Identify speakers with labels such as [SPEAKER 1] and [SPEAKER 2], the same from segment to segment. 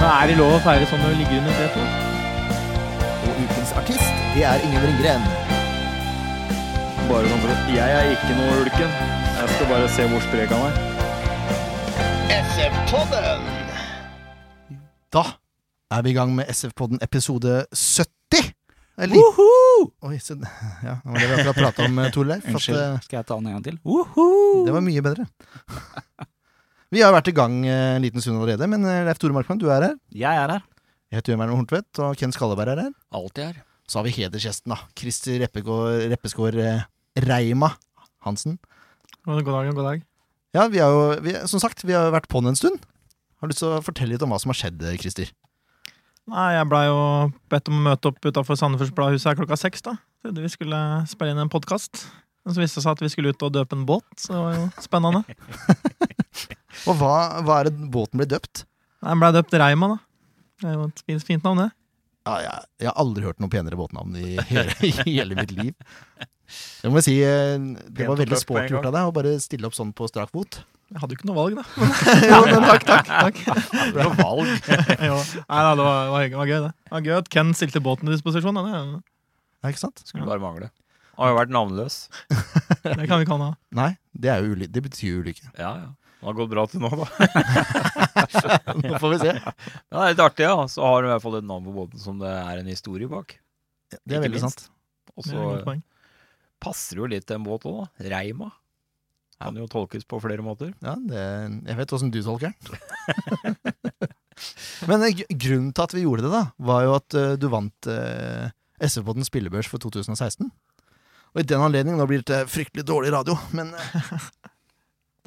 [SPEAKER 1] Er det lov å feire sånn når du ligger under setet?
[SPEAKER 2] Og ukens artist, det er Ingen Ringgren.
[SPEAKER 3] Bare sånn for at Jeg er ikke noe ulken. Jeg skal bare se hvor sprek han er.
[SPEAKER 4] Da er vi i gang med SF-podden episode 70. Det er litt- Oi, så, ja, det var det vi akkurat prata om, eh, Torleif. at,
[SPEAKER 3] Unnskyld.
[SPEAKER 4] eh,
[SPEAKER 3] Skal jeg ta den en gang til?
[SPEAKER 4] Det var mye bedre. Vi har vært i gang eh, en liten stund allerede, men eh, Leif Tore Markmann, du er her.
[SPEAKER 3] Jeg er her.
[SPEAKER 4] Jeg heter Jørn Werner Horntvedt, og Ken Skalleberg er her.
[SPEAKER 5] Alltid her.
[SPEAKER 4] Så har vi hedersgjesten, da. Christer Reppegå- Reppeskår eh, Reima Hansen.
[SPEAKER 1] God dag, god dag.
[SPEAKER 4] Ja, vi har jo, vi, som sagt, vi har jo vært på'n en stund. Har du lyst til å fortelle litt om hva som har skjedd, eh, Christer?
[SPEAKER 1] Nei, jeg blei jo bedt om å møte opp utafor Sandefjords Bladhuset her klokka seks. da. Trodde vi skulle spille inn en podkast. Men så viste det seg at vi skulle ut og døpe en båt, så det var jo spennende. Nei,
[SPEAKER 4] Og hva, hva er det båten ble døpt?
[SPEAKER 1] Den blei døpt Reima, da. Det er jo et fint, fint navn, det.
[SPEAKER 4] Ja, jeg, jeg har aldri hørt noe penere båtnavn i hele, i hele mitt liv. Jeg må si, eh, Det var
[SPEAKER 3] Pent og
[SPEAKER 4] veldig
[SPEAKER 3] tøft på en
[SPEAKER 4] sporty gjort av deg å bare stille opp sånn på strak fot.
[SPEAKER 1] Jeg hadde jo ikke noe valg, da.
[SPEAKER 4] Jo, men takk, takk.
[SPEAKER 1] Takk.
[SPEAKER 3] Bra valg.
[SPEAKER 1] Jo. Nei da, det var, det var, gøy, det var gøy, det. Det var gøy at Ken stilte båten til disposisjon. da. Det,
[SPEAKER 4] Ja, ikke sant?
[SPEAKER 5] Skulle bare mangle. Han har jo vært navnløs.
[SPEAKER 1] det kan vi ikke ha noe av.
[SPEAKER 4] Nei, det, er jo uly det betyr jo ulykke.
[SPEAKER 5] Ja, ja. Det har gått bra til nå, da.
[SPEAKER 4] Nå får vi se.
[SPEAKER 5] Ja, det er litt artig, ja. Så har du i hvert fall et navn på båten som det er en historie bak.
[SPEAKER 4] Det er
[SPEAKER 5] Ikke
[SPEAKER 4] veldig
[SPEAKER 5] minst.
[SPEAKER 4] sant.
[SPEAKER 5] Og
[SPEAKER 1] Det er et
[SPEAKER 5] så
[SPEAKER 1] godt poeng.
[SPEAKER 5] passer det jo litt til en båt òg, da. Reima. Kan jo tolkes på flere måter.
[SPEAKER 4] Ja, det, jeg vet åssen du tolker den. Men eh, gr- grunnen til at vi gjorde det, da, var jo at eh, du vant uh, SV-podden spillebørs for 2016. Og i den anledning, nå blir det fryktelig dårlig radio, men eh,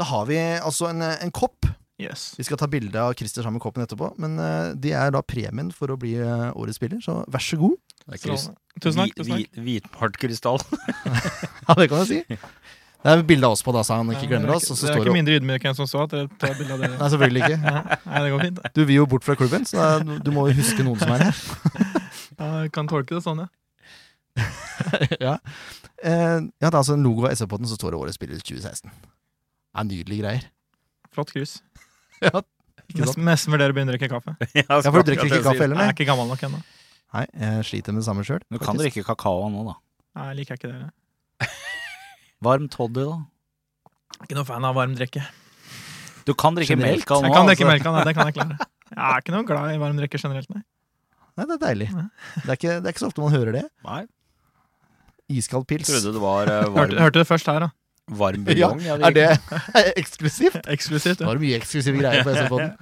[SPEAKER 4] da har vi altså en, eh, en kopp.
[SPEAKER 1] Yes.
[SPEAKER 4] Vi skal ta bilde av Christer sammen med koppen etterpå, men eh, det er da premien for å bli eh, årets spiller, så vær så god.
[SPEAKER 5] Det er kryst-
[SPEAKER 1] Strålende. Tusen takk.
[SPEAKER 5] hvi-
[SPEAKER 1] tusen takk.
[SPEAKER 5] hvi- Hvitmalt krystall.
[SPEAKER 4] Ja, det kan jeg si. Det er bilde av oss på da, så han ikke
[SPEAKER 1] Ja, det er
[SPEAKER 4] glemmer oss. Og så
[SPEAKER 1] det er
[SPEAKER 4] står
[SPEAKER 1] ikke
[SPEAKER 4] det
[SPEAKER 1] mindre ydmyk enn som så at dere tar bilde av dere.
[SPEAKER 4] Nei, selvfølgelig ikke.
[SPEAKER 1] Ja, Nei, det går fint. det.
[SPEAKER 4] Du vil jo bort fra klubben, så da- du må jo huske noen som er her.
[SPEAKER 1] Ja, jeg kan tolke det sånn, ja.
[SPEAKER 4] ja. Eh, ja, det er altså en logo av SV-podden som står det Årets spiller 2016. Det er nydelige greier.
[SPEAKER 1] Flott krus.
[SPEAKER 4] Ja, ikke sant?
[SPEAKER 1] Nesten, nesten vurderer å begynne å drikke kaffe.
[SPEAKER 4] Ja, for du drikker ikke kaffe heller,
[SPEAKER 1] Jeg er
[SPEAKER 4] nei?
[SPEAKER 1] ikke gammel nok ennå.
[SPEAKER 4] Nei, jeg sliter med det samme sjøl.
[SPEAKER 3] Du kan drikke kakao nå, da.
[SPEAKER 1] Nei, Jeg liker ikke det. Jeg
[SPEAKER 3] Varm toddy, da.
[SPEAKER 1] er Ikke noe fan av varm drikke.
[SPEAKER 3] Du kan drikke
[SPEAKER 4] Generelt.
[SPEAKER 3] melka nå.
[SPEAKER 1] Jeg kan drikke
[SPEAKER 3] altså.
[SPEAKER 1] melka, nei, det kan jeg klare. Jeg er ikke noe glad i varm drikke generelt, nei.
[SPEAKER 4] Nei, det er deilig. Det er, ikke, det er ikke så ofte man hører det.
[SPEAKER 5] Nei,
[SPEAKER 4] Iskald pils.
[SPEAKER 5] trodde det var eh,
[SPEAKER 1] Hørte,
[SPEAKER 5] varm,
[SPEAKER 1] hørte det først her, da.
[SPEAKER 5] varm
[SPEAKER 4] Ja,
[SPEAKER 5] buljong. Ja,
[SPEAKER 4] er det eksklusivt?
[SPEAKER 1] Eksklusivt.
[SPEAKER 4] Det
[SPEAKER 1] Ja.
[SPEAKER 4] var mye eksklusive greier på SV-podden.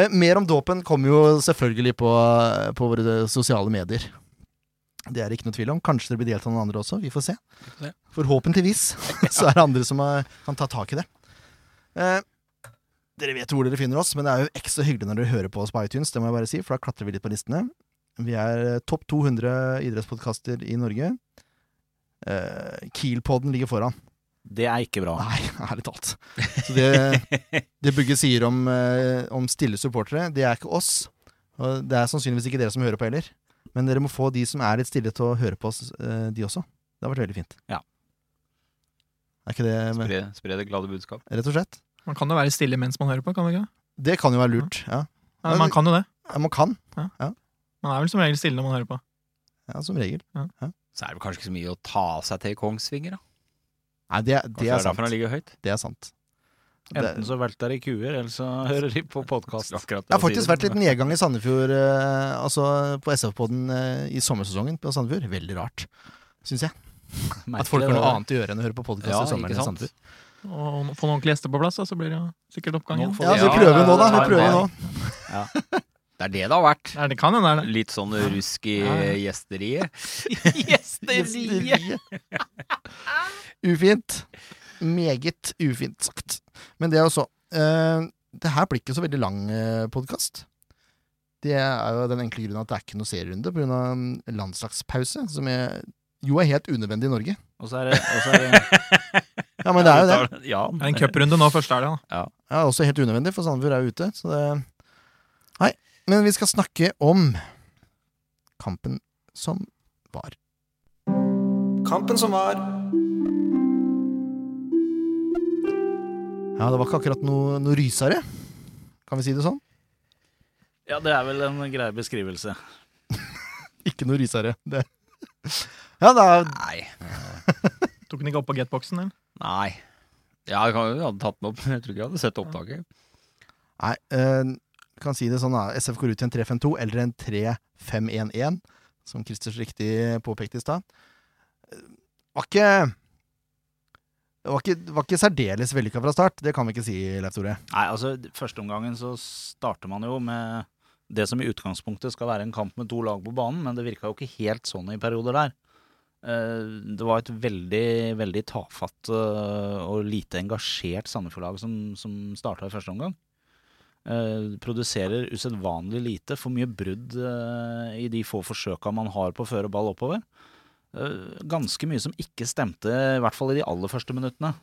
[SPEAKER 4] Eh, mer om dåpen kommer jo selvfølgelig på, eh, på våre sosiale medier. Det er det ikke noe tvil om. Kanskje det blir delt av noen andre også. Vi får se.
[SPEAKER 5] får se.
[SPEAKER 4] Forhåpentligvis så er det andre som eh, kan ta tak i det. Eh, dere vet hvor dere finner oss, men det er jo ekstra hyggelig når dere hører på oss på iTunes. Det må jeg bare si, for da klatrer vi litt på listene. Vi er eh, topp 200 idrettspodkaster i Norge. Eh, Kielpodden ligger foran.
[SPEAKER 3] Det er ikke bra.
[SPEAKER 4] Nei, ærlig talt. Så det, det Bugge sier om, eh, om stille supportere, det er ikke oss. Og det er sannsynligvis ikke dere som hører på heller. Men dere må få de som er litt stille til å høre på oss, eh, de også. Det har vært veldig fint.
[SPEAKER 3] Ja.
[SPEAKER 4] Er ikke det men,
[SPEAKER 5] Spre, spre det glade budskap.
[SPEAKER 4] Rett og slett.
[SPEAKER 1] Man kan jo være stille mens man hører på, kan man ikke?
[SPEAKER 4] Det kan jo være lurt. Ja,
[SPEAKER 1] Ja, man kan jo det.
[SPEAKER 4] ja Man kan.
[SPEAKER 1] Man er vel som regel stille når man hører på.
[SPEAKER 4] Ja, som regel.
[SPEAKER 5] Så er det vel kanskje ikke så mye å ta seg til i Kongsvinger, da.
[SPEAKER 4] Nei, det, er-
[SPEAKER 5] Kanskje
[SPEAKER 4] det er
[SPEAKER 5] derfor
[SPEAKER 4] sant.
[SPEAKER 5] han ligger høyt.
[SPEAKER 4] Det er sant. Det,
[SPEAKER 3] Enten så velter de kuer, eller så hører de på podkast.
[SPEAKER 5] Akkurat det
[SPEAKER 4] det har
[SPEAKER 5] å si
[SPEAKER 4] faktisk
[SPEAKER 5] det.
[SPEAKER 4] vært litt nedgang i Sandefjord, eh, altså på SF-podden eh, i sommersesongen på Sandefjord. Veldig rart, syns jeg. At folk har noe annet å gjøre enn å høre på podkast
[SPEAKER 5] Ja,
[SPEAKER 4] i sommeren.
[SPEAKER 5] ikke
[SPEAKER 4] i
[SPEAKER 5] sant?
[SPEAKER 4] Sandefjord.
[SPEAKER 1] Og få noen ordentlige gjester på plass, da, så blir det jo sikkert oppgang
[SPEAKER 3] Nå
[SPEAKER 1] igjen.
[SPEAKER 3] får
[SPEAKER 4] Ja,
[SPEAKER 5] Ja,
[SPEAKER 4] vi prøver
[SPEAKER 5] det-
[SPEAKER 4] nå, da.
[SPEAKER 5] det
[SPEAKER 4] Vi
[SPEAKER 5] er
[SPEAKER 4] prøver
[SPEAKER 5] det.
[SPEAKER 4] nå.
[SPEAKER 5] Det er det det har vært.
[SPEAKER 1] Nei, det kan hende det er det.
[SPEAKER 5] Litt sånn rusk i
[SPEAKER 1] Ja, ja.
[SPEAKER 5] gjesteriet.
[SPEAKER 1] Gjesteri!
[SPEAKER 4] Ufint. Meget ufint sagt. Men eh, det er jo så. eh, det her blir ikke så veldig lang podkast. Det er jo den enkle grunnen at det er ikke noe serierunde pga. landslagspause, som er, jo er helt unødvendig i Norge.
[SPEAKER 5] Og så er det, og så er det
[SPEAKER 4] Ja, men det er jo det.
[SPEAKER 5] Ja,
[SPEAKER 1] Det er en cuprunde nå første helga. da.
[SPEAKER 4] Ja, også helt unødvendig, for Sandefjord er jo ute. Så det Nei. Men vi skal snakke om kampen som var.
[SPEAKER 2] Kampen som var.
[SPEAKER 4] Ja, det var ikke akkurat noe, noe rysere. Kan vi si det sånn?
[SPEAKER 5] ja, det er vel en grei beskrivelse.
[SPEAKER 4] Ikke noe rysere. Det. Ja, det er
[SPEAKER 5] Nei.
[SPEAKER 1] Tok den ikke opp på getboxen? eller?
[SPEAKER 5] Nei. Ja, jeg kan- jeg hadde tatt den opp, men jeg tror ikke jeg hadde sett opptaket.
[SPEAKER 4] Nei, eh, kan si det sånn da. SF går ut til en 3-5-2 eller en 3-5-1-1, som Christer så riktig påpekte i stad. Eh, Var ikke det var ikke, var ikke særdeles vellykka fra start, det kan vi ikke si, Leif Tore.
[SPEAKER 6] Nei, altså Førsteomgangen så starter man jo med det som i utgangspunktet skal være en kamp med to lag på banen, men det virka jo ikke helt sånn i perioder der. Eh, Det var et veldig veldig tafatt eh, og lite engasjert Sandefjord-lag som, som starta i første omgang. Eh, Produserer usedvanlig lite, for mye brudd eh, i de få forsøka man har på å føre ball oppover. Eh, Ganske mye som ikke stemte, i hvert fall i de aller første minuttene.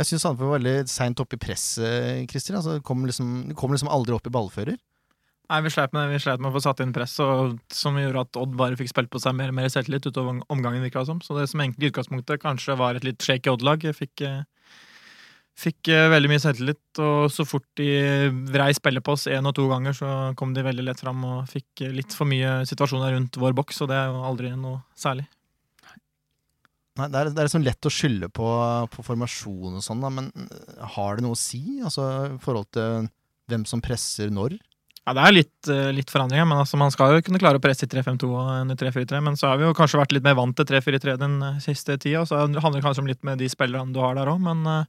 [SPEAKER 4] Jeg syns Sandefjord var veldig seint oppe i presset, Christer. Altså, det kom liksom, det kom liksom aldri opp i ballfører.
[SPEAKER 1] Nei, Vi sleit med, vi sleit med å få satt inn press, og, som gjorde at Odd bare fikk spilt på seg mer og mer selvtillit utover om- omgangen. virket det som. Så det som egentlig i utgangspunktet kanskje var et litt shaky Odd-lag, fikk, eh, fikk eh, veldig mye selvtillit. Og så fort de vrei spillet på oss én og to ganger, så kom de veldig lett fram og fikk eh, litt for mye situasjoner rundt vår boks, og det er jo aldri noe særlig.
[SPEAKER 4] Nei, det, er, det er liksom lett å skylde på, på formasjon og sånn, da, men eh, har det noe å si? Altså i forhold til hvem som presser når?
[SPEAKER 1] Ja, Det er litt, eh, litt forandringer, men altså, man skal jo kunne klare å presse i 3-5-2 og en i 3-4-3. Men så har vi jo kanskje vært litt mer vant til 3-4-3 den eh, siste tida. og Så handler det kanskje om litt med de spillerne du har der òg, men eh,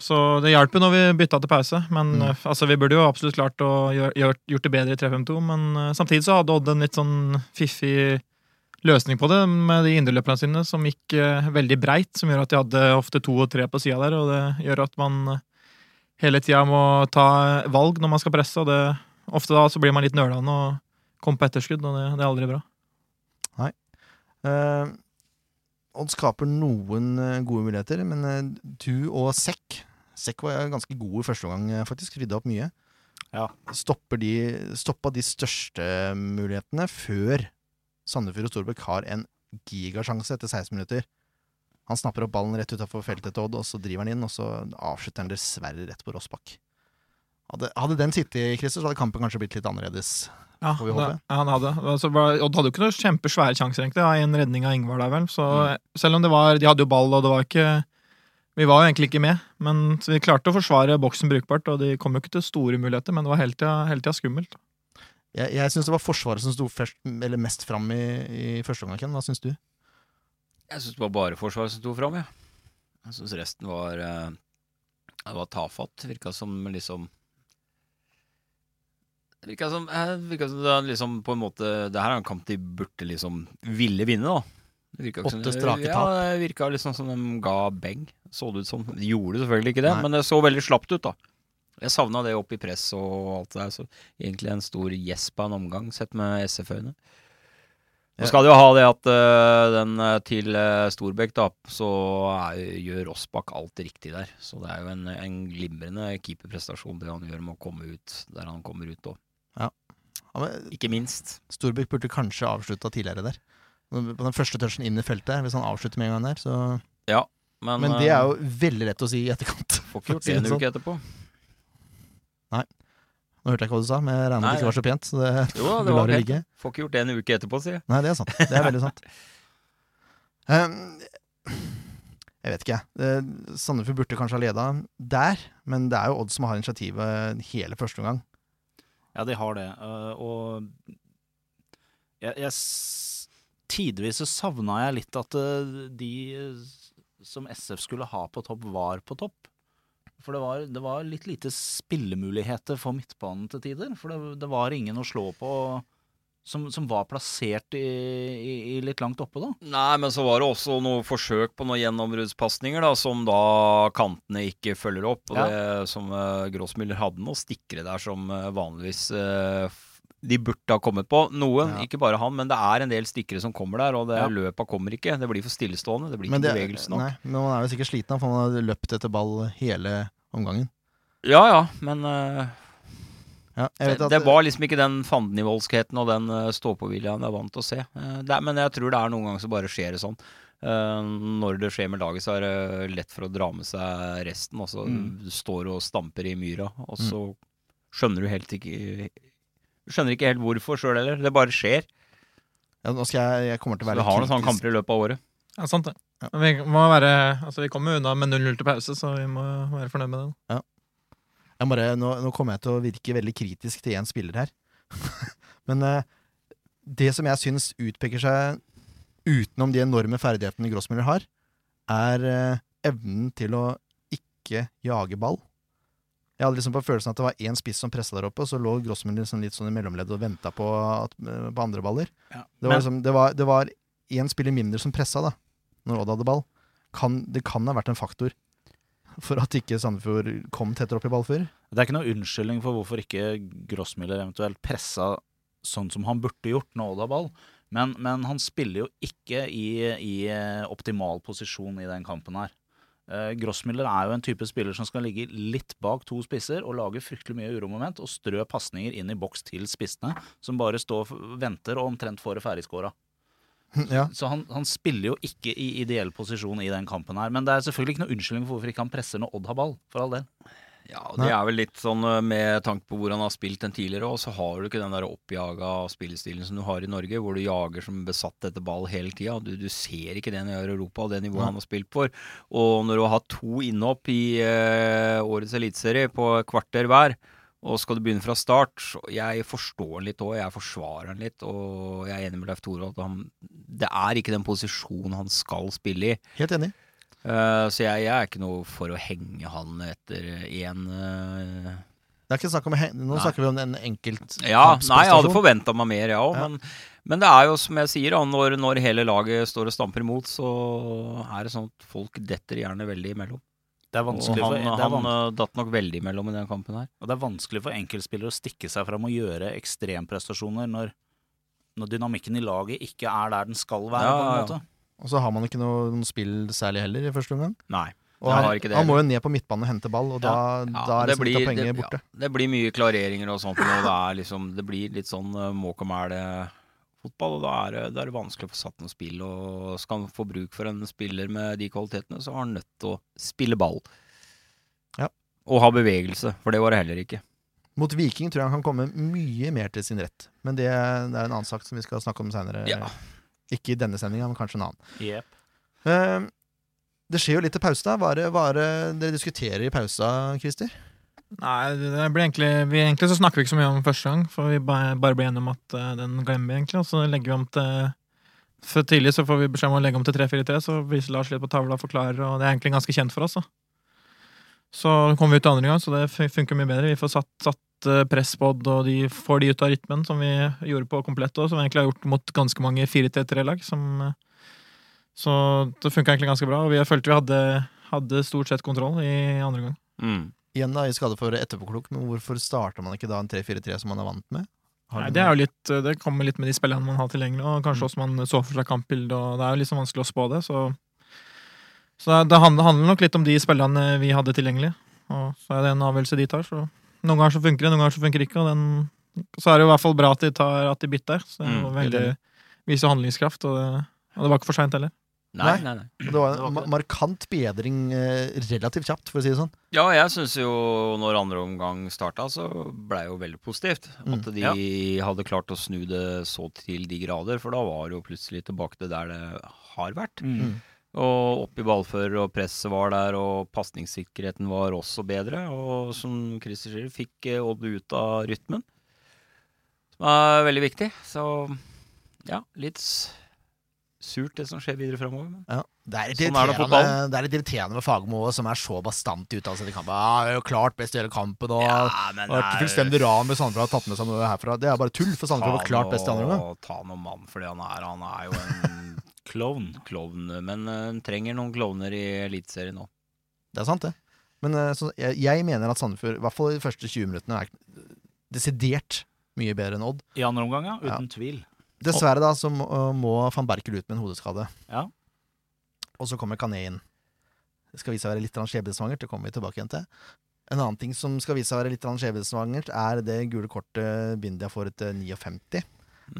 [SPEAKER 1] Så det hjalp jo når vi bytta til pause, men
[SPEAKER 4] Mm.
[SPEAKER 1] eh, altså, vi burde jo absolutt klart å gjøre, gjort, gjort det bedre i 3-5-2. Men eh, samtidig så hadde Odd en litt sånn fiffig løsning på det med de indreløperne sine som gikk eh, veldig breit, som gjør at de hadde ofte to og tre på sida der, og det gjør at man eh, hele tida må ta valg når man skal presse, og det, ofte da så blir man litt nølende og kommer på etterskudd, og det, det er aldri bra.
[SPEAKER 4] Eh, Odd skaper noen eh, gode muligheter, men eh, du og Sekk Sekk var ganske god i første omgang, eh, faktisk. Rydda opp mye.
[SPEAKER 6] Ja.
[SPEAKER 4] Stopper de, stoppa de største mulighetene før Sandefjord og Storbekk har en gigasjanse etter 16 minutter. Han snapper opp ballen rett utafor feltet til Odd, og så driver han inn, og så avslutter han dessverre rett på Rossbakk. Hadde, hadde den sittet, Christer, så hadde kampen kanskje blitt litt annerledes.
[SPEAKER 1] Ja,
[SPEAKER 4] Får vi håpe.
[SPEAKER 1] det- ja, han hadde. Altså, bare- Odd hadde jo ikke noen kjempesvære sjanser, egentlig. Ja, en redning av Ingvar der, vel. Så selv om det var De hadde jo ball, og det var ikke Vi var jo egentlig ikke med, men så vi klarte å forsvare boksen brukbart, og de kom jo ikke til store muligheter, men det var hele tida, hele tida skummelt.
[SPEAKER 4] Jeg, jeg syns det var Forsvaret som sto først, eller mest fram i, i første omgang. Ken. Hva syns du?
[SPEAKER 5] Jeg syns det var bare Forsvaret som sto fram, jeg. Jeg syns resten var eh, Det var tafatt. Virka som liksom det Virka som, eh, virka som det er liksom på en måte Det her er en kamp de burde liksom ville vinne, da. Det virka ikke som-
[SPEAKER 4] Åtte strake tap.
[SPEAKER 5] Ja, det virka liksom som de ga beng. Så det ut som. De gjorde selvfølgelig ikke det,
[SPEAKER 4] Nei.
[SPEAKER 5] men det så veldig slapt ut, da. Jeg savna det opp i press og alt det der. Så egentlig en stor gjesp av en omgang, sett med SF-øyne.
[SPEAKER 4] Ja.
[SPEAKER 5] Nå skal det jo ha det at eh, den eh, til eh, Storbekk, da, så er, gjør Rossbakk alt riktig der. Så det er jo en, en glimrende keeperprestasjon, det han gjør med å komme ut der han kommer ut òg.
[SPEAKER 4] Ja, men
[SPEAKER 5] Ikke minst.
[SPEAKER 4] Storbekk burde kanskje avslutta tidligere der. På den første touchen inn i feltet, hvis han avslutter med en gang der. Så.
[SPEAKER 5] Men,
[SPEAKER 4] Men det er
[SPEAKER 5] eh,
[SPEAKER 4] jo veldig lett å si i etterkant.
[SPEAKER 5] Får ikke
[SPEAKER 4] for å si
[SPEAKER 5] gjort det en
[SPEAKER 4] det sånn.
[SPEAKER 5] uke etterpå.
[SPEAKER 4] Nå hørte jeg ikke hva du sa, men jeg regner med
[SPEAKER 5] Nei,
[SPEAKER 4] det ikke var så pent. Så det,
[SPEAKER 5] Jo, da,
[SPEAKER 4] vi
[SPEAKER 5] det var
[SPEAKER 4] lar det
[SPEAKER 5] pent.
[SPEAKER 4] ligge.
[SPEAKER 5] Får ikke gjort det en uke etterpå, sier jeg.
[SPEAKER 4] Nei, det er sant. Det er veldig sant. Ehm, jeg vet ikke. Eh, Sandefjord burde kanskje ha leda der, men det er jo Odd som har initiativet hele første omgang.
[SPEAKER 6] Ja, de har det. eh, og jeg, jeg s- Tidvis så savna jeg litt at eh, de s- som SF skulle ha på topp, var på topp. For det var, det var litt lite spillemuligheter for midtbanen til tider. For det, det var ingen å slå på som, som var plassert i, i, i litt langt oppe, da.
[SPEAKER 5] Nei, men så var det også noen forsøk på noen gjennombruddspasninger da, som da kantene ikke følger opp. Og
[SPEAKER 6] Ja.
[SPEAKER 5] det som uh, Grossmüller hadde noen stikkere der som eh, vanligvis eh, f- de burde ha kommet på. Noen,
[SPEAKER 4] Ja.
[SPEAKER 5] ikke bare han, men det er en del stikkere som kommer der, og det
[SPEAKER 6] Ja.
[SPEAKER 5] løpa kommer ikke. Det blir for stillestående. Det blir
[SPEAKER 4] Men, det,
[SPEAKER 5] ikke bevegelse nok.
[SPEAKER 4] nei, men man er jo sikkert sliten, av, for man har løpt etter ball hele omgangen.
[SPEAKER 5] Ja ja, men eh,
[SPEAKER 4] Ja, jeg vet
[SPEAKER 5] det,
[SPEAKER 4] at,
[SPEAKER 5] det var liksom ikke den fandenivoldskheten og den uh, stå-på-viljen jeg er vant til å se. Eh, det, er- men jeg tror det er noen ganger så bare skjer det sånn. Eh, når det skjer med laget, så er det lett for å dra med seg resten. Og så
[SPEAKER 6] Mm.
[SPEAKER 5] du står og stamper i myra, og så
[SPEAKER 4] Mm.
[SPEAKER 5] skjønner du helt ikke Skjønner ikke helt hvorfor sjøl heller. Det bare skjer.
[SPEAKER 4] ja, nå skal jeg, jeg kommer til å
[SPEAKER 5] Så
[SPEAKER 4] være
[SPEAKER 5] vi har noen
[SPEAKER 4] litt
[SPEAKER 5] sånne
[SPEAKER 4] kritisk.
[SPEAKER 5] kamper i løpet av året.
[SPEAKER 1] Ja, sant det.
[SPEAKER 4] Ja.
[SPEAKER 1] Men Vi, må være, altså, vi kommer jo unna med 0-0 til pause, så vi må være fornøyd med den.
[SPEAKER 4] Jeg bare, nå, nå kommer jeg til å virke veldig kritisk til én spiller her. Men eh, det som jeg syns utpeker seg utenom de enorme ferdighetene Grossmüller har, er eh, evnen til å ikke jage ball. Jeg hadde liksom på følelsen at det var én spiss som pressa der oppe, og så lå Grossmüller liksom litt sånn i mellomleddet og venta på, at- eh, på andre baller. Det var,
[SPEAKER 6] Men-
[SPEAKER 4] liksom, det var, det var én spiller mindre som pressa da Når Odd hadde ball. Kan, det kan ha vært en faktor for at ikke Sandefjord kom tettere opp i ballfører.
[SPEAKER 6] Det er ikke noe unnskyldning for hvorfor ikke Grossmüller eventuelt pressa sånn som han burde gjort når Odd har ball, men, men han spiller jo ikke i, i eh, optimal posisjon i den kampen her. Eh, Grossmüller er jo en type spiller som skal ligge litt bak to spisser og lage fryktelig mye uromoment og strø pasninger inn i boks til spissene, som bare står og venter og omtrent får det ferdigskåra.
[SPEAKER 4] ja.
[SPEAKER 6] Så han, han spiller jo ikke i ideell posisjon i den kampen her. Men det er selvfølgelig ikke noe unnskyldning for hvorfor ikke han presser når Odd har ball, for all del.
[SPEAKER 5] Ja, og Det er vel litt sånn eh, med tanke på hvor han har spilt den tidligere, og så har du ikke den der oppjaga spillestilen som du har i Norge, hvor du jager som besatt etter ball hele tida. Du, du ser ikke det når jeg gjør Europa, og det nivået han har spilt for. Og når du har to innhopp i eh, årets eliteserie på et kvarter hver, og skal du begynne fra start så Jeg forstår han litt òg, jeg forsvarer han litt, og jeg er enig med Leif Tore at han, det er ikke den posisjonen han skal spille i.
[SPEAKER 4] Helt enig.
[SPEAKER 5] Eh, så jeg, jeg er ikke noe for å henge han etter eh, én
[SPEAKER 4] Det er ikke snakk om, he- nå
[SPEAKER 5] Nei.
[SPEAKER 4] snakker vi om en enkelt
[SPEAKER 5] Ja,
[SPEAKER 4] kampsprestasjon.
[SPEAKER 5] nei, jeg hadde forventa meg mer, jeg òg.
[SPEAKER 4] Ja.
[SPEAKER 5] Men, men det er jo som jeg sier, da, når, når hele laget står og stamper imot, så er det sånn at folk detter gjerne veldig imellom.
[SPEAKER 6] Det er
[SPEAKER 5] Og
[SPEAKER 6] vanskelig for,
[SPEAKER 5] han,
[SPEAKER 6] det er
[SPEAKER 5] han
[SPEAKER 6] vanskelig.
[SPEAKER 5] eh, datt nok veldig imellom i den kampen her.
[SPEAKER 6] Og det er vanskelig for enkeltspillere å stikke seg fram og gjøre ekstremprestasjoner når, når dynamikken i laget ikke er der den skal være.
[SPEAKER 5] Ja, ja,
[SPEAKER 6] på en måte.
[SPEAKER 4] Og så har man ikke noe noen spill særlig heller i første omgang.
[SPEAKER 5] Nei.
[SPEAKER 4] Og
[SPEAKER 5] Jeg
[SPEAKER 4] han,
[SPEAKER 5] har ikke det
[SPEAKER 4] han må jo ned på midtbanen og hente ball, og da,
[SPEAKER 5] Ja,
[SPEAKER 4] da
[SPEAKER 5] og
[SPEAKER 4] er liksom litt av poenget
[SPEAKER 5] det,
[SPEAKER 4] borte.
[SPEAKER 5] Ja, det blir mye klareringer og sånt, og det, er liksom, det blir litt sånn eh, måk og mæl eh, fotball, og da er, det- da er det vanskelig å få satt noe spill. Og skal han få bruk for en spiller med de kvalitetene, så har han nødt til å spille ball.
[SPEAKER 4] Ja.
[SPEAKER 5] Og ha bevegelse, for det var det heller ikke.
[SPEAKER 4] Mot Viking tror jeg han kan komme mye mer til sin rett, men det, det er en annen sak som vi skal snakke om seinere.
[SPEAKER 5] Ja.
[SPEAKER 4] Ikke i denne sendinga, men kanskje en annen.
[SPEAKER 6] Jep.
[SPEAKER 4] Eh, det skjer jo litt til pause, da. Hva er det- hva er det dere diskuterer i pausa, Christer?
[SPEAKER 1] Nei, det blir egentlig, vi, egentlig så snakker vi ikke så mye om første gang, for vi bare, bare blir enige om at eh, den glemmer vi egentlig, og så legger vi om til for tidlig så får vi beskjed om å legge om til 3-4-3, så viser Lars litt på tavla og forklarer, og det er egentlig ganske kjent for oss. Da. Så kommer vi ut andre gang, så det fun- funker mye bedre. Vi får satt, satt eh, press på Odd, og de får de ut av rytmen, som vi gjorde på komplett òg, som vi egentlig har gjort mot ganske mange 4-3-3-lag. som, eh, Så det funka egentlig ganske bra, og vi følte vi hadde, hadde stort sett kontroll i andre gang.
[SPEAKER 5] Mm.
[SPEAKER 4] Igjen da, i skade for etterpåklok, men hvorfor starter man ikke da en 3-4-3 som man er vant med? Har
[SPEAKER 1] Nei,
[SPEAKER 4] du
[SPEAKER 1] det, er
[SPEAKER 4] noe- Mm.
[SPEAKER 1] jo litt, eh, det kommer litt med de spillene man har tilgjengelig, og kanskje også man så for seg kampbildet, og det er jo litt sånn vanskelig å spå det. Så, så det- det handler, handler nok litt om de spillene vi hadde tilgjengelig, og så er det en avgjørelse de tar. Så noen ganger så funker det, noen ganger så funker det ikke, og den, så er det jo i hvert fall bra at de, tar, at de bytter. Så det er jo
[SPEAKER 4] helt
[SPEAKER 5] Mm,
[SPEAKER 1] veldig,
[SPEAKER 4] enig.
[SPEAKER 1] viser jo handlingskraft, og det, og det var ikke for seint heller.
[SPEAKER 5] Nei,
[SPEAKER 4] Nei.
[SPEAKER 5] nei, nei.
[SPEAKER 4] Det var en ma- markant bedring eh, relativt kjapt, for å si det sånn.
[SPEAKER 5] Ja, jeg syns jo når andre omgang starta, så blei jo veldig positivt. At de
[SPEAKER 4] Mm.
[SPEAKER 5] hadde klart å snu det så til de grader, for da var det jo plutselig tilbake til der det har vært. Og opp i ballfører, og presset var der, og pasningssikkerheten var også bedre. Og som Christer sier, fikk eh, Odd ut av rytmen. Som er veldig viktig. Så ja, litt s- surt, det som skjer videre framover.
[SPEAKER 4] Ja. Det, er litt
[SPEAKER 5] Sånn er det i
[SPEAKER 4] irriterende, det er litt irriterende med Fagermo også, som er så bastant i uttalelsen til kampen. Ja, det er jo klart best i hele kampen, og ja,
[SPEAKER 5] men
[SPEAKER 4] vært fullstendig ran med Sandefjord har tatt med seg noe herfra. Det er bare tull, for Sandefjord var klart best i andre omgang.
[SPEAKER 5] Ta noe mann for det han er. Han er jo en
[SPEAKER 6] Klovn.
[SPEAKER 5] klovn. Men eh, en trenger noen klovner i Eliteserien nå.
[SPEAKER 4] Det er sant, det. Men eh, så, jeg, jeg mener at Sandefjord, i hvert fall de første 20 minuttene, er desidert mye bedre enn Odd.
[SPEAKER 6] I andre omgang, ja.
[SPEAKER 4] Ja.
[SPEAKER 6] Uten tvil.
[SPEAKER 4] Dessverre da, så må, eh, må van Berkel ut med en hodeskade.
[SPEAKER 6] Ja.
[SPEAKER 4] Og så kommer Kané inn. Det skal vise seg å være litt grann skjebnesvangert, det kommer vi tilbake igjen til. En annen ting som skal vise seg å være litt grann skjebnesvangert, er det gule kortet Bindia får eh, etter 59.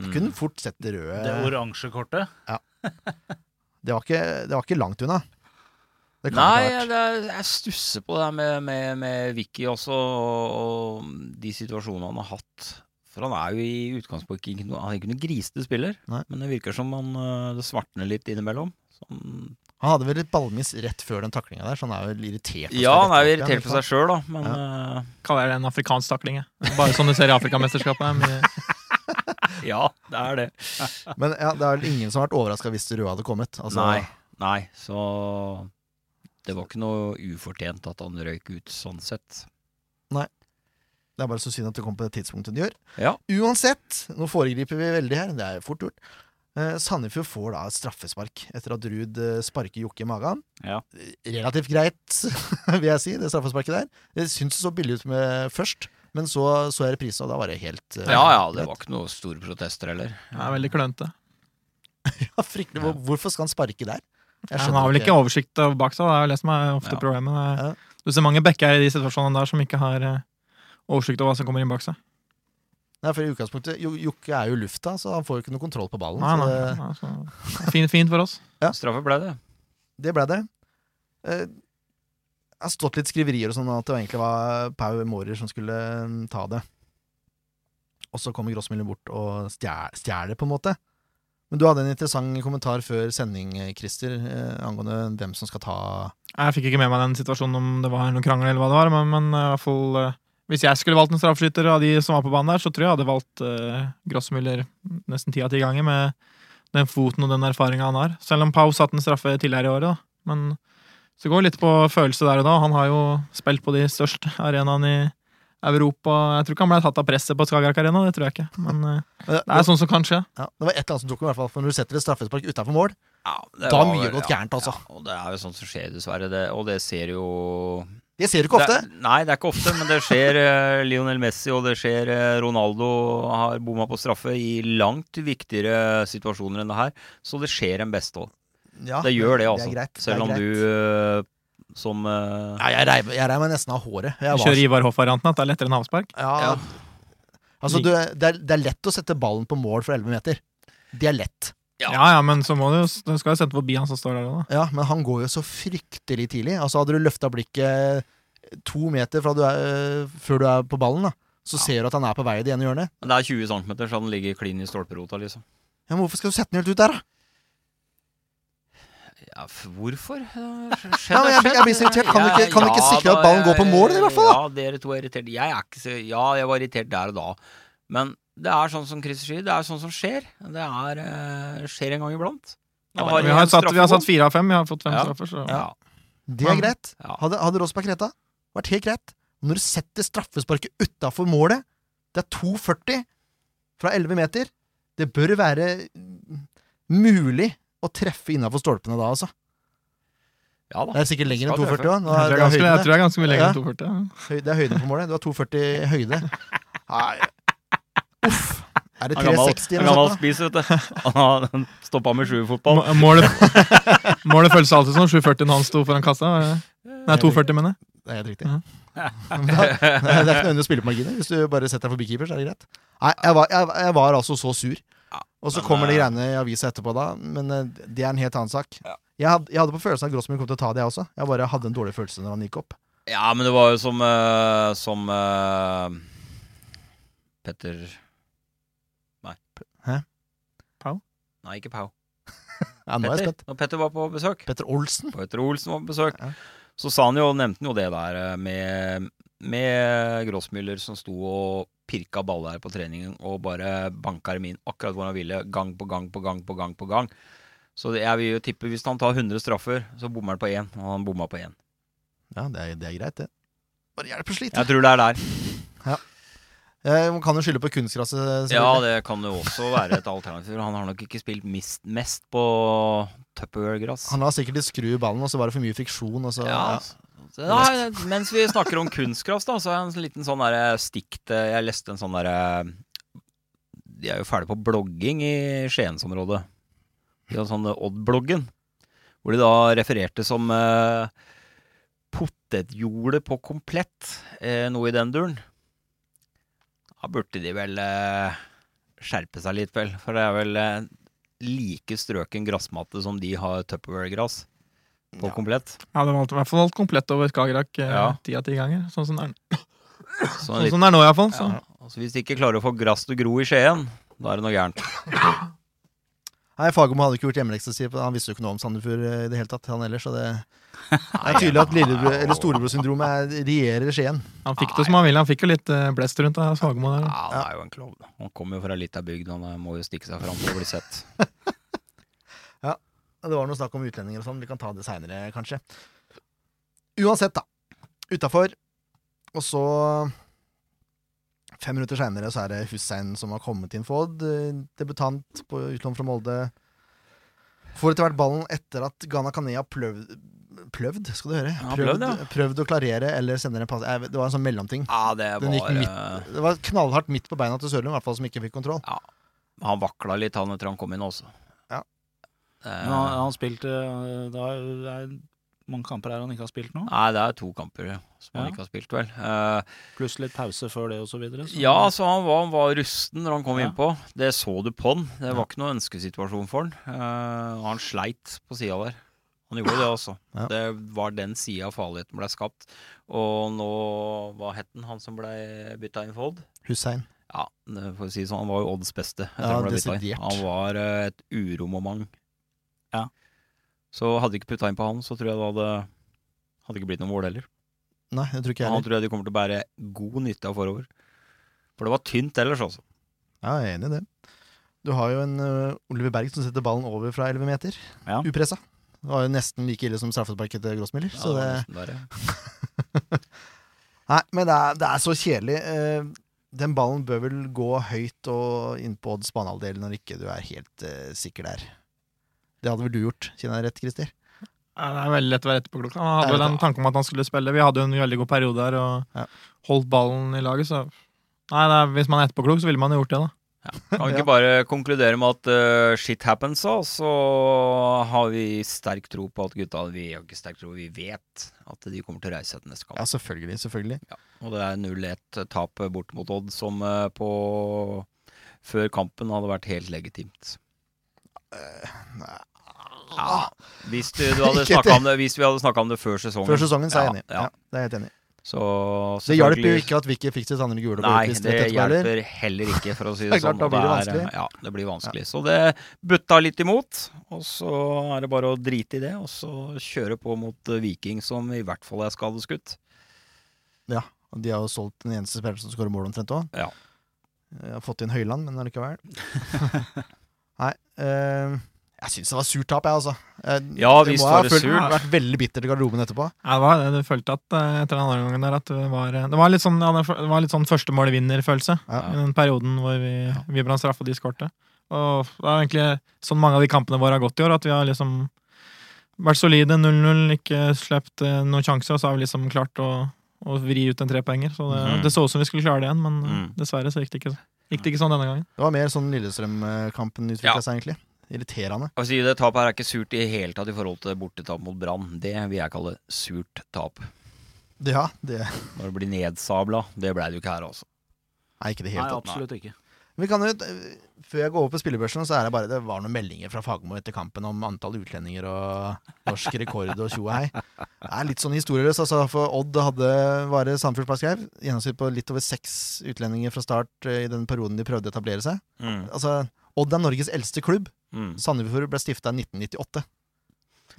[SPEAKER 4] Han
[SPEAKER 5] Mm.
[SPEAKER 4] kunne fort sett det røde.
[SPEAKER 6] Det oransje kortet.
[SPEAKER 4] Det var ikke, det var ikke langt unna. Det kan ikke
[SPEAKER 5] Nei,
[SPEAKER 4] ha
[SPEAKER 5] jeg,
[SPEAKER 4] vært.
[SPEAKER 5] det er- jeg stusser på det her med, med, med Vicky også, og, og de situasjonene han har hatt. For han er jo i utgangspunktet ikke noe, han er ikke noen grisete spiller,
[SPEAKER 4] Nei.
[SPEAKER 5] men det virker som han, eh, det svartner litt innimellom. Sånn, Så han
[SPEAKER 4] Han hadde vel et ballmiss rett før den taklinga der, så han er vel irritert. på seg
[SPEAKER 5] Ja, han er
[SPEAKER 4] rett opp
[SPEAKER 5] jo
[SPEAKER 4] igjen,
[SPEAKER 5] irritert på seg sjøl, da, men eh,
[SPEAKER 1] Kaller jeg det en afrikansk takling. jeg. Bare sånn du ser i Afrikamesterskapet. Mye-
[SPEAKER 5] Ja, det er det.
[SPEAKER 4] Men ja, det er vel ingen som har vært overraska hvis det røde hadde kommet. Altså,
[SPEAKER 5] Nei, nei, så Det var ikke noe ufortjent at han røyk ut, sånn sett.
[SPEAKER 4] Det er bare så synd at det kom på det tidspunktet det gjør.
[SPEAKER 5] Ja.
[SPEAKER 4] Uansett, nå foregriper vi veldig her, det er fort gjort. Eh, Sandefjord får da et straffespark etter at Ruud eh, sparker Jokke i magen.
[SPEAKER 6] Ja.
[SPEAKER 4] Relativt greit, vil jeg si, det straffesparket der. Det syns det så billig ut med først, men så så jeg reprisen, og da var det helt eh,
[SPEAKER 5] Ja ja, det
[SPEAKER 4] greit.
[SPEAKER 5] var ikke noe store protester heller.
[SPEAKER 1] Det er veldig klønete.
[SPEAKER 4] Ja, fryktelig. Hvor, hvorfor skal han sparke der? Jeg
[SPEAKER 1] Han
[SPEAKER 4] skjønner
[SPEAKER 1] har vel ikke oversikt over bak seg, det er jo det som er ofte
[SPEAKER 5] Ja.
[SPEAKER 1] problemet. Det
[SPEAKER 4] Ja.
[SPEAKER 1] er- Du ser mange bekker i de situasjonene der som ikke har eh, oversikt over hva som kommer inn bak seg.
[SPEAKER 4] Nei, for i utgangspunktet, Jo- Jokke er jo i lufta, så han får jo ikke noe kontroll på ballen.
[SPEAKER 1] Nei,
[SPEAKER 4] Oh, så
[SPEAKER 1] nei,
[SPEAKER 4] det-
[SPEAKER 1] nei, altså, fint, fint for oss.
[SPEAKER 5] Straffe ble det.
[SPEAKER 4] Det ble det. Eh, Det har stått litt skriverier og sånn at det egentlig var Pau Mårer som skulle mm, ta det. Og så kommer Grossmiller bort og stjel- stjeler det, på en måte. Men du hadde en interessant kommentar før sending, eh, Christer, eh, angående hvem som skal ta
[SPEAKER 1] Jeg fikk ikke med meg den situasjonen om det var noen krangel eller hva det var, men, men eh, i hvert fall eh, hvis jeg skulle valgt en straffeskytter av de som var på banen der, så tror jeg jeg hadde valgt uh, Grossmüller nesten ti av ti ganger med den foten og den erfaringa han har. Selv om Pau satte en straffe tidligere i året, da. Men så går det litt på følelse der og da. Han har jo spilt på de største arenaene i Europa. Jeg tror ikke han ble tatt av presset på Skagerrak Arena, det tror jeg ikke. Men eh,
[SPEAKER 4] Eh,
[SPEAKER 1] det er sånn som kan skje.
[SPEAKER 4] ja, det var et eller annet som tok meg, i hvert fall, for når du setter et straffespark utafor mål,
[SPEAKER 5] Ja, det
[SPEAKER 4] da har
[SPEAKER 5] var
[SPEAKER 4] mye
[SPEAKER 5] vel-
[SPEAKER 4] gått
[SPEAKER 5] ja,
[SPEAKER 4] gærent, altså.
[SPEAKER 5] Ja, og det er jo sånn som skjer, dessverre. Det, og det ser jo
[SPEAKER 4] Det ser du ikke ofte.
[SPEAKER 5] Det, nei, det er ikke ofte, men det skjer eh, Lionel Messi, og det skjer eh, Ronaldo har bomma på straffe i langt viktigere situasjoner enn det her. Så det skjer en beste òg.
[SPEAKER 4] Ja,
[SPEAKER 5] det gjør det,
[SPEAKER 4] er
[SPEAKER 5] altså.
[SPEAKER 4] greit, det er
[SPEAKER 5] Selv om
[SPEAKER 4] greit.
[SPEAKER 5] du eh, som eh,
[SPEAKER 4] ja, Jeg reiv jeg reiv meg nesten av håret. Jeg var
[SPEAKER 1] Kjører Ivar Hoff-varianten, at det er lettere enn havspark.
[SPEAKER 4] Ja.
[SPEAKER 5] Ja.
[SPEAKER 4] Altså, du, det, er, det er lett å sette ballen på mål fra 11 meter. Det er lett.
[SPEAKER 5] Ja.
[SPEAKER 1] Ja ja, men så må du jo Du skal jo sende forbi han som står der òg, da.
[SPEAKER 4] Ja, men han går jo så fryktelig tidlig. Altså, hadde du løfta blikket to meter fra du er, øh, før du er på ballen, da, så ser du at han er på vei i det ene hjørnet.
[SPEAKER 5] Det er 20 cm, så den ligger klin i stolperota, liksom.
[SPEAKER 4] Ja, men hvorfor skal du sette den helt ut der, da?
[SPEAKER 5] Ja, f- hvorfor?
[SPEAKER 4] Ja, men jeg blir- jeg blir så irritert. Kan du ikke- kan du ikke sikre at ballen går på mål, i hvert fall, da?
[SPEAKER 5] Ja, dere to er irritert. Jeg er ikke så Ja, jeg var irritert der og da. Men det er sånn som Chris sier, det er sånn som skjer. Det er, eh, skjer en gang iblant. Nå
[SPEAKER 1] Vi
[SPEAKER 5] en
[SPEAKER 1] har, satt, vi har
[SPEAKER 5] straffebom.
[SPEAKER 1] satt fire av fem, vi har fått fem
[SPEAKER 5] Ja.
[SPEAKER 1] straffer, så
[SPEAKER 5] ja.
[SPEAKER 4] Det er
[SPEAKER 1] Men-
[SPEAKER 4] greit.
[SPEAKER 5] Ja.
[SPEAKER 4] Hadde, hadde Rosberg retta, vært helt greit. Når du setter straffesparket utafor målet, det er 2,40 fra 11 meter, det bør være mm, mulig å treffe innafor stolpene da, altså.
[SPEAKER 5] ja
[SPEAKER 4] Det
[SPEAKER 5] da.
[SPEAKER 4] er sikkert lenger enn 2,40
[SPEAKER 5] Skal
[SPEAKER 4] også. Nå
[SPEAKER 1] Jeg tror
[SPEAKER 4] er-
[SPEAKER 1] det er ganske,
[SPEAKER 4] det er
[SPEAKER 1] jeg
[SPEAKER 4] høyden,
[SPEAKER 1] tror det er ganske mye lenger
[SPEAKER 4] Ja.
[SPEAKER 1] enn 240. ja.
[SPEAKER 4] det. Høy- det er høyden på målet. Du har 2,40 i høyde. Nei. Uff. Er det
[SPEAKER 5] Han gammel,
[SPEAKER 4] 3,60 eller
[SPEAKER 5] han
[SPEAKER 4] noe
[SPEAKER 5] gammel
[SPEAKER 4] sånt? da?
[SPEAKER 5] spiser, vet du. Han har stoppa med sjuerfotball.
[SPEAKER 1] Må- Målet, målet føles alltid som 740 når han sto foran kassa. Nei, 240, mener jeg.
[SPEAKER 4] Det er helt riktig.
[SPEAKER 1] Ja.
[SPEAKER 4] Men da, det er ikke nødvendig å spille på marginer. Hvis du bare setter deg forbi keeper, så er det greit. Nei, jeg var, jeg, jeg var altså så sur.
[SPEAKER 5] Ja,
[SPEAKER 4] Og så
[SPEAKER 5] men,
[SPEAKER 4] kommer det
[SPEAKER 5] eh,
[SPEAKER 4] greiene i avisa etterpå da, men eh, det er en helt annen sak.
[SPEAKER 5] Ja.
[SPEAKER 4] Jeg, hadde, jeg hadde på følelsen at Grossmann kom til å ta det, jeg også. Jeg bare hadde en dårlig følelse når han gikk opp.
[SPEAKER 5] Ja, men det var jo som eh, Som eh, Petter Nei.
[SPEAKER 4] Hæ?
[SPEAKER 1] Pau?
[SPEAKER 5] Nei, ikke Pau.
[SPEAKER 4] Ja, nå er jeg
[SPEAKER 5] Petter.
[SPEAKER 4] spent.
[SPEAKER 5] Når Petter var på besøk.
[SPEAKER 4] Petter Olsen.
[SPEAKER 5] Petter Olsen var på besøk.
[SPEAKER 4] Ja.
[SPEAKER 5] Så sa han jo, nevnte han jo det der eh, med, med Grossmüller som sto og pirka baller på treningen og bare banka dem inn akkurat hvor han ville, gang på gang på gang på gang på gang. Så det, jeg vil jo tippe hvis han tar 100 straffer, så bommer han på én. Og han bomma på én.
[SPEAKER 4] Ja, det er, det er greit, det. Bare hjelp og slit.
[SPEAKER 5] Jeg tror det er der.
[SPEAKER 4] Eh, Man kan jo skylde på kunstgresset.
[SPEAKER 5] Ja,
[SPEAKER 4] selvfølgelig.
[SPEAKER 5] det kan jo også være et alternativ. Han har nok ikke spilt mist, mest på Tupperware-gress.
[SPEAKER 4] Han har sikkert de skru i ballen, og så var det for mye friksjon. Og så,
[SPEAKER 5] Ja. altså. Så, da, mens vi snakker om kunstgras, da, så er en liten sånn derre stikk til Jeg leste en sånn derre De er jo ferdig på blogging i Skiensområdet. De har sånn Odd-bloggen, hvor de da refererte som eh, potetjordet på komplett, eh, noe i den duren. Da burde de vel eh, skjerpe seg litt, vel. For det er vel eh, like strøken gressmatte som de har Tupperware-gress på komplett.
[SPEAKER 1] Ja, det valgte i hvert fall valgt komplett over Skagerrak ti
[SPEAKER 5] Ja.
[SPEAKER 1] av ti ganger. Sånn som det er,
[SPEAKER 5] Så en
[SPEAKER 1] sånn som det er nå, iallfall. Så.
[SPEAKER 5] Ja. Altså, hvis de ikke klarer å få gress til å gro i Skien, da er det noe gærent.
[SPEAKER 4] Nei, Fagermo hadde ikke gjort hjemmeleksa si. for Han visste jo ikke noe om Sandefjord eh, i det hele tatt, han ellers. Så det, det er tydelig at lillebror- eller storebrorsyndromet er- regjerer i Skien.
[SPEAKER 1] Han fikk det som han ville. Han fikk jo litt eh, blest rundt av Svagmo der.
[SPEAKER 5] Ja, han er jo en klovn. da. Han kommer jo fra ei lita bygd, han eh, må jo stikke seg fram for å bli sett.
[SPEAKER 4] Det var noe snakk om utlendinger og sånn. Vi kan ta det seinere, kanskje. Uansett, da. Utafor. Og så Fem minutter seinere så er det Hussein som har kommet inn for Odd. eh, Debutant på utlån fra Molde. Får etter hvert ballen etter at Ghana Kanea pløvd Pløvd, skal du høre.
[SPEAKER 5] Ja, pløvd, ja.
[SPEAKER 4] prøvd å klarere eller sende en pass. Jeg vet- Det var en sånn mellomting.
[SPEAKER 5] Ja, det
[SPEAKER 4] Den gikk
[SPEAKER 5] var
[SPEAKER 4] midt.
[SPEAKER 5] eh,
[SPEAKER 4] Det var knallhardt midt på beina til Sørlund, i hvert fall, som ikke fikk kontroll.
[SPEAKER 5] Han vakla litt, han etter han kom inn også.
[SPEAKER 4] Ja.
[SPEAKER 5] Eh,
[SPEAKER 6] Men han, han spilte eh, Det er det er mange kamper her han ikke har spilt nå.
[SPEAKER 5] Nei, det er to kamper som han
[SPEAKER 6] Ja.
[SPEAKER 5] ikke har spilt, vel. Eh,
[SPEAKER 6] Pluss litt pause før det og så videre. Så.
[SPEAKER 5] ja, altså. så han var, han var rusten når han kom
[SPEAKER 6] Ja.
[SPEAKER 5] innpå. Det så du på han. Det var ikke noen ønskesituasjon for han. Eh, og han sleit på sida der. Han gjorde det, altså.
[SPEAKER 4] Ja.
[SPEAKER 5] Det var den sida farligheten ble skapt. Og nå Hva het han, han som ble bytta inn for Odd?
[SPEAKER 4] Hussein.
[SPEAKER 5] Ja, det får vi si sånn, han var jo Odds beste. etter
[SPEAKER 4] Ja,
[SPEAKER 5] han ble bytta inn.
[SPEAKER 4] desidert.
[SPEAKER 5] Han var eh, et uromoment.
[SPEAKER 6] Ja.
[SPEAKER 5] Så hadde de ikke putta inn på han, så tror jeg det hadde Hadde ikke blitt noen mål heller.
[SPEAKER 4] Nei, det tror ikke jeg
[SPEAKER 5] Han
[SPEAKER 4] heller.
[SPEAKER 5] tror jeg de kommer til å bære god nytte av forover. For det var tynt ellers, altså.
[SPEAKER 4] Ja, jeg er enig i det. Du har jo en ø, Oliver Berg som setter ballen over fra 11 meter.
[SPEAKER 6] Ja.
[SPEAKER 4] Upressa. Det var jo nesten like ille som straffesparket til Grossmiller.
[SPEAKER 5] Ja,
[SPEAKER 4] så
[SPEAKER 5] det var
[SPEAKER 4] det,
[SPEAKER 5] nesten der, ja.
[SPEAKER 4] nei, men det er, det er så kjedelig. Eh, Den ballen bør vel gå høyt og inn på Odds banehalvdel når ikke du er helt eh, sikker der. Det hadde vel du gjort, kjenner jeg rett, Christer?
[SPEAKER 1] Ja, det er veldig lett å være etterpåklokka. Han hadde
[SPEAKER 4] Ja,
[SPEAKER 1] vel
[SPEAKER 4] vet
[SPEAKER 1] en tanke om at han skulle spille. Vi hadde jo en veldig god periode der og
[SPEAKER 4] Ja.
[SPEAKER 1] holdt ballen i laget, så Nei, det er, Hvis man er etterpåklok, så ville man jo gjort det, da.
[SPEAKER 5] Kan vi ikke bare konkludere med at eh, shit happens, da? Så har vi sterk tro på at gutta Vi har ikke sterk tro, vi vet at de kommer til å reise etter neste kamp.
[SPEAKER 4] Ja, selvfølgelig. selvfølgelig.
[SPEAKER 5] Og det er 0-1-tap bort mot Odd, som eh, på før kampen hadde vært helt legitimt. Ja, hvis, du, du hadde
[SPEAKER 4] Ikke
[SPEAKER 5] snakket om det, hvis vi hadde snakka om det før sesongen.
[SPEAKER 4] Før sesongen så er jeg
[SPEAKER 5] Ja,
[SPEAKER 4] enig.
[SPEAKER 5] ja.
[SPEAKER 4] Ja, det er jeg helt enig. i.
[SPEAKER 5] Så
[SPEAKER 4] Det hjalp jo
[SPEAKER 5] selvfølgelig-
[SPEAKER 4] ikke at Vicky fikk sitt andre gule på
[SPEAKER 5] Nei,
[SPEAKER 4] utvist
[SPEAKER 5] det
[SPEAKER 4] rett etterpå, eller?
[SPEAKER 5] hjelper heller ikke, for å si
[SPEAKER 4] Det
[SPEAKER 5] det,
[SPEAKER 4] er klart,
[SPEAKER 5] sånn.
[SPEAKER 4] da
[SPEAKER 5] og
[SPEAKER 4] blir det
[SPEAKER 5] er,
[SPEAKER 4] vanskelig.
[SPEAKER 5] Ja, det blir vanskelig. Så det butta litt imot, og så er det bare å drite i det, og så kjøre på mot eh, Viking, som i hvert fall er skadeskutt.
[SPEAKER 4] Ja, og de har jo solgt den eneste spilleren som skårer mål omtrent òg.
[SPEAKER 5] Ja.
[SPEAKER 4] Har fått inn Høyland, men allikevel. Nei. eh, jeg syns det var surt tap, jeg, altså. Eh,
[SPEAKER 5] Ja,
[SPEAKER 4] det
[SPEAKER 5] visst
[SPEAKER 4] må
[SPEAKER 5] var
[SPEAKER 4] ha
[SPEAKER 5] det
[SPEAKER 4] følt-
[SPEAKER 5] surt.
[SPEAKER 4] vært veldig bitter i garderoben etterpå.
[SPEAKER 1] Ja, det var det. Du følte at eh, etter den andre gangen der at det var, eh, det var litt sånn, ja, det var litt sånn førstemål-vinner-følelse.
[SPEAKER 4] Ja.
[SPEAKER 1] I den perioden hvor vi, vi brant straff og de skårte. Og det er egentlig sånn mange av de kampene våre har gått i år, at vi har liksom vært solide 0-0, ikke sluppet eh, noen sjanser, og så har vi liksom klart å, å vri ut en trepoenger. Så det,
[SPEAKER 5] Mhm.
[SPEAKER 1] det så ut som vi skulle klare det igjen, men eh,
[SPEAKER 5] Mm.
[SPEAKER 1] dessverre så gikk det ikke, gikk det ikke sånn denne gangen.
[SPEAKER 4] Det var mer sånn Lillestrøm-kampen utvikla
[SPEAKER 5] Ja.
[SPEAKER 4] seg, egentlig. Irriterende.
[SPEAKER 5] Altså, det tapet her er ikke surt i hele tatt i forhold til bortetap mot Brann. Det vil jeg kalle surt tap.
[SPEAKER 4] Ja, det
[SPEAKER 5] Når det blir nedsabla, det blei det jo ikke her, altså.
[SPEAKER 4] er ikke det
[SPEAKER 6] Nei,
[SPEAKER 4] helt tatt.
[SPEAKER 6] absolutt ikke.
[SPEAKER 4] Vi kan jo, Før jeg går over på spillebørsen, så er det bare det var noen meldinger fra Fagermo etter kampen om antall utlendinger og norsk rekord og tjo og hei. Det er litt sånn historieløst. Altså, for Odd hadde bare Sandefjord Plass Skrev gjennomsnitt på litt over seks utlendinger fra start eh, i den perioden de prøvde å etablere seg.
[SPEAKER 5] Mm.
[SPEAKER 4] Altså, Odd er Norges eldste klubb.
[SPEAKER 5] Mm.
[SPEAKER 4] Sandefjord ble stifta i 1998.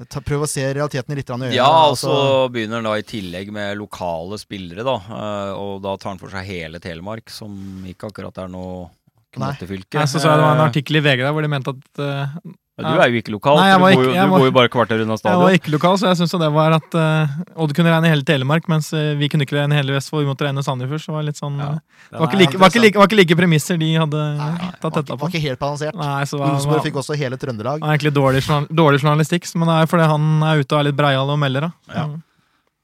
[SPEAKER 4] Ta, prøv å se realitetene litt grann i øynene.
[SPEAKER 5] Ja, og
[SPEAKER 4] altså.
[SPEAKER 5] så begynner han da i tillegg med lokale spillere, da. eh, Og da tar han for seg hele Telemark, som ikke akkurat er noe
[SPEAKER 4] Nei.
[SPEAKER 5] knottefylke.
[SPEAKER 1] Nei, så så jeg det var en artikkel i VG der hvor de mente at eh,
[SPEAKER 5] Ja, du er jo ikke lokal.
[SPEAKER 1] Nei, jeg
[SPEAKER 5] for
[SPEAKER 1] var
[SPEAKER 5] du,
[SPEAKER 1] ikke-
[SPEAKER 5] bor jo,
[SPEAKER 1] jeg
[SPEAKER 5] du
[SPEAKER 1] var-
[SPEAKER 5] bor jo bare kvarter unna
[SPEAKER 1] Jeg var
[SPEAKER 5] stadion.
[SPEAKER 1] ikke lokal, så jeg syns jo det var at eh, Odd kunne regne hele Telemark, mens eh, vi kunne ikke regne hele Vestfold. Vi måtte regne Sandefjord, så det var litt sånn
[SPEAKER 5] Ja.
[SPEAKER 1] eh, Det var ikke like, var ikke like, var ikke like premisser de hadde tatt
[SPEAKER 4] Var
[SPEAKER 1] dette
[SPEAKER 4] ikke,
[SPEAKER 1] på.
[SPEAKER 4] var ikke helt balansert.
[SPEAKER 1] Nei, så det var,
[SPEAKER 4] Rosenborg
[SPEAKER 1] var,
[SPEAKER 4] fikk også hele Trøndelag.
[SPEAKER 1] det var egentlig dårlig, journal, dårlig journalistikk, men det er fordi han er ute og er litt breial og melder, da.
[SPEAKER 6] Ja.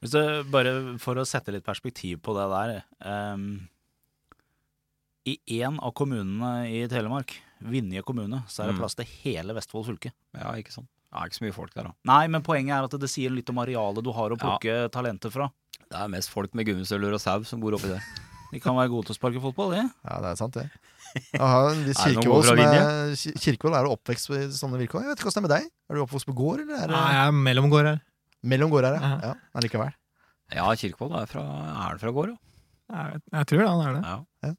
[SPEAKER 6] Hvis du, bare for å sette litt perspektiv på det der ehm, I én av kommunene i Telemark, Vinje kommune, så er det
[SPEAKER 5] Mm.
[SPEAKER 6] plass til hele Vestfold fylke.
[SPEAKER 5] Ja, ikke sant. Det er ikke så mye folk der, da.
[SPEAKER 6] Nei, men poenget er at det sier litt om arealet du har å plukke talenter fra.
[SPEAKER 5] Det er mest folk med gummistøvler og sau som bor oppi der.
[SPEAKER 6] De kan være gode til å sparke fotball, de.
[SPEAKER 4] Ja, det er sant, det. Aha, en viss
[SPEAKER 5] Er det
[SPEAKER 4] kirkevold,
[SPEAKER 5] noen fra
[SPEAKER 4] som er, Ki- kirkevold er du oppvokst i sånne vilkår. Jeg vet ikke hvordan det er med deg. Er du oppvokst på gård, eller er det
[SPEAKER 1] Nei, jeg er mellomgård her.
[SPEAKER 4] mellom gårder? Ja.
[SPEAKER 1] Ja.
[SPEAKER 4] ja, allikevel.
[SPEAKER 5] Ja, Kirkvold er fra Er det fra gård, jo?
[SPEAKER 1] Jeg, vet- jeg tror det, han er det.
[SPEAKER 5] Ja.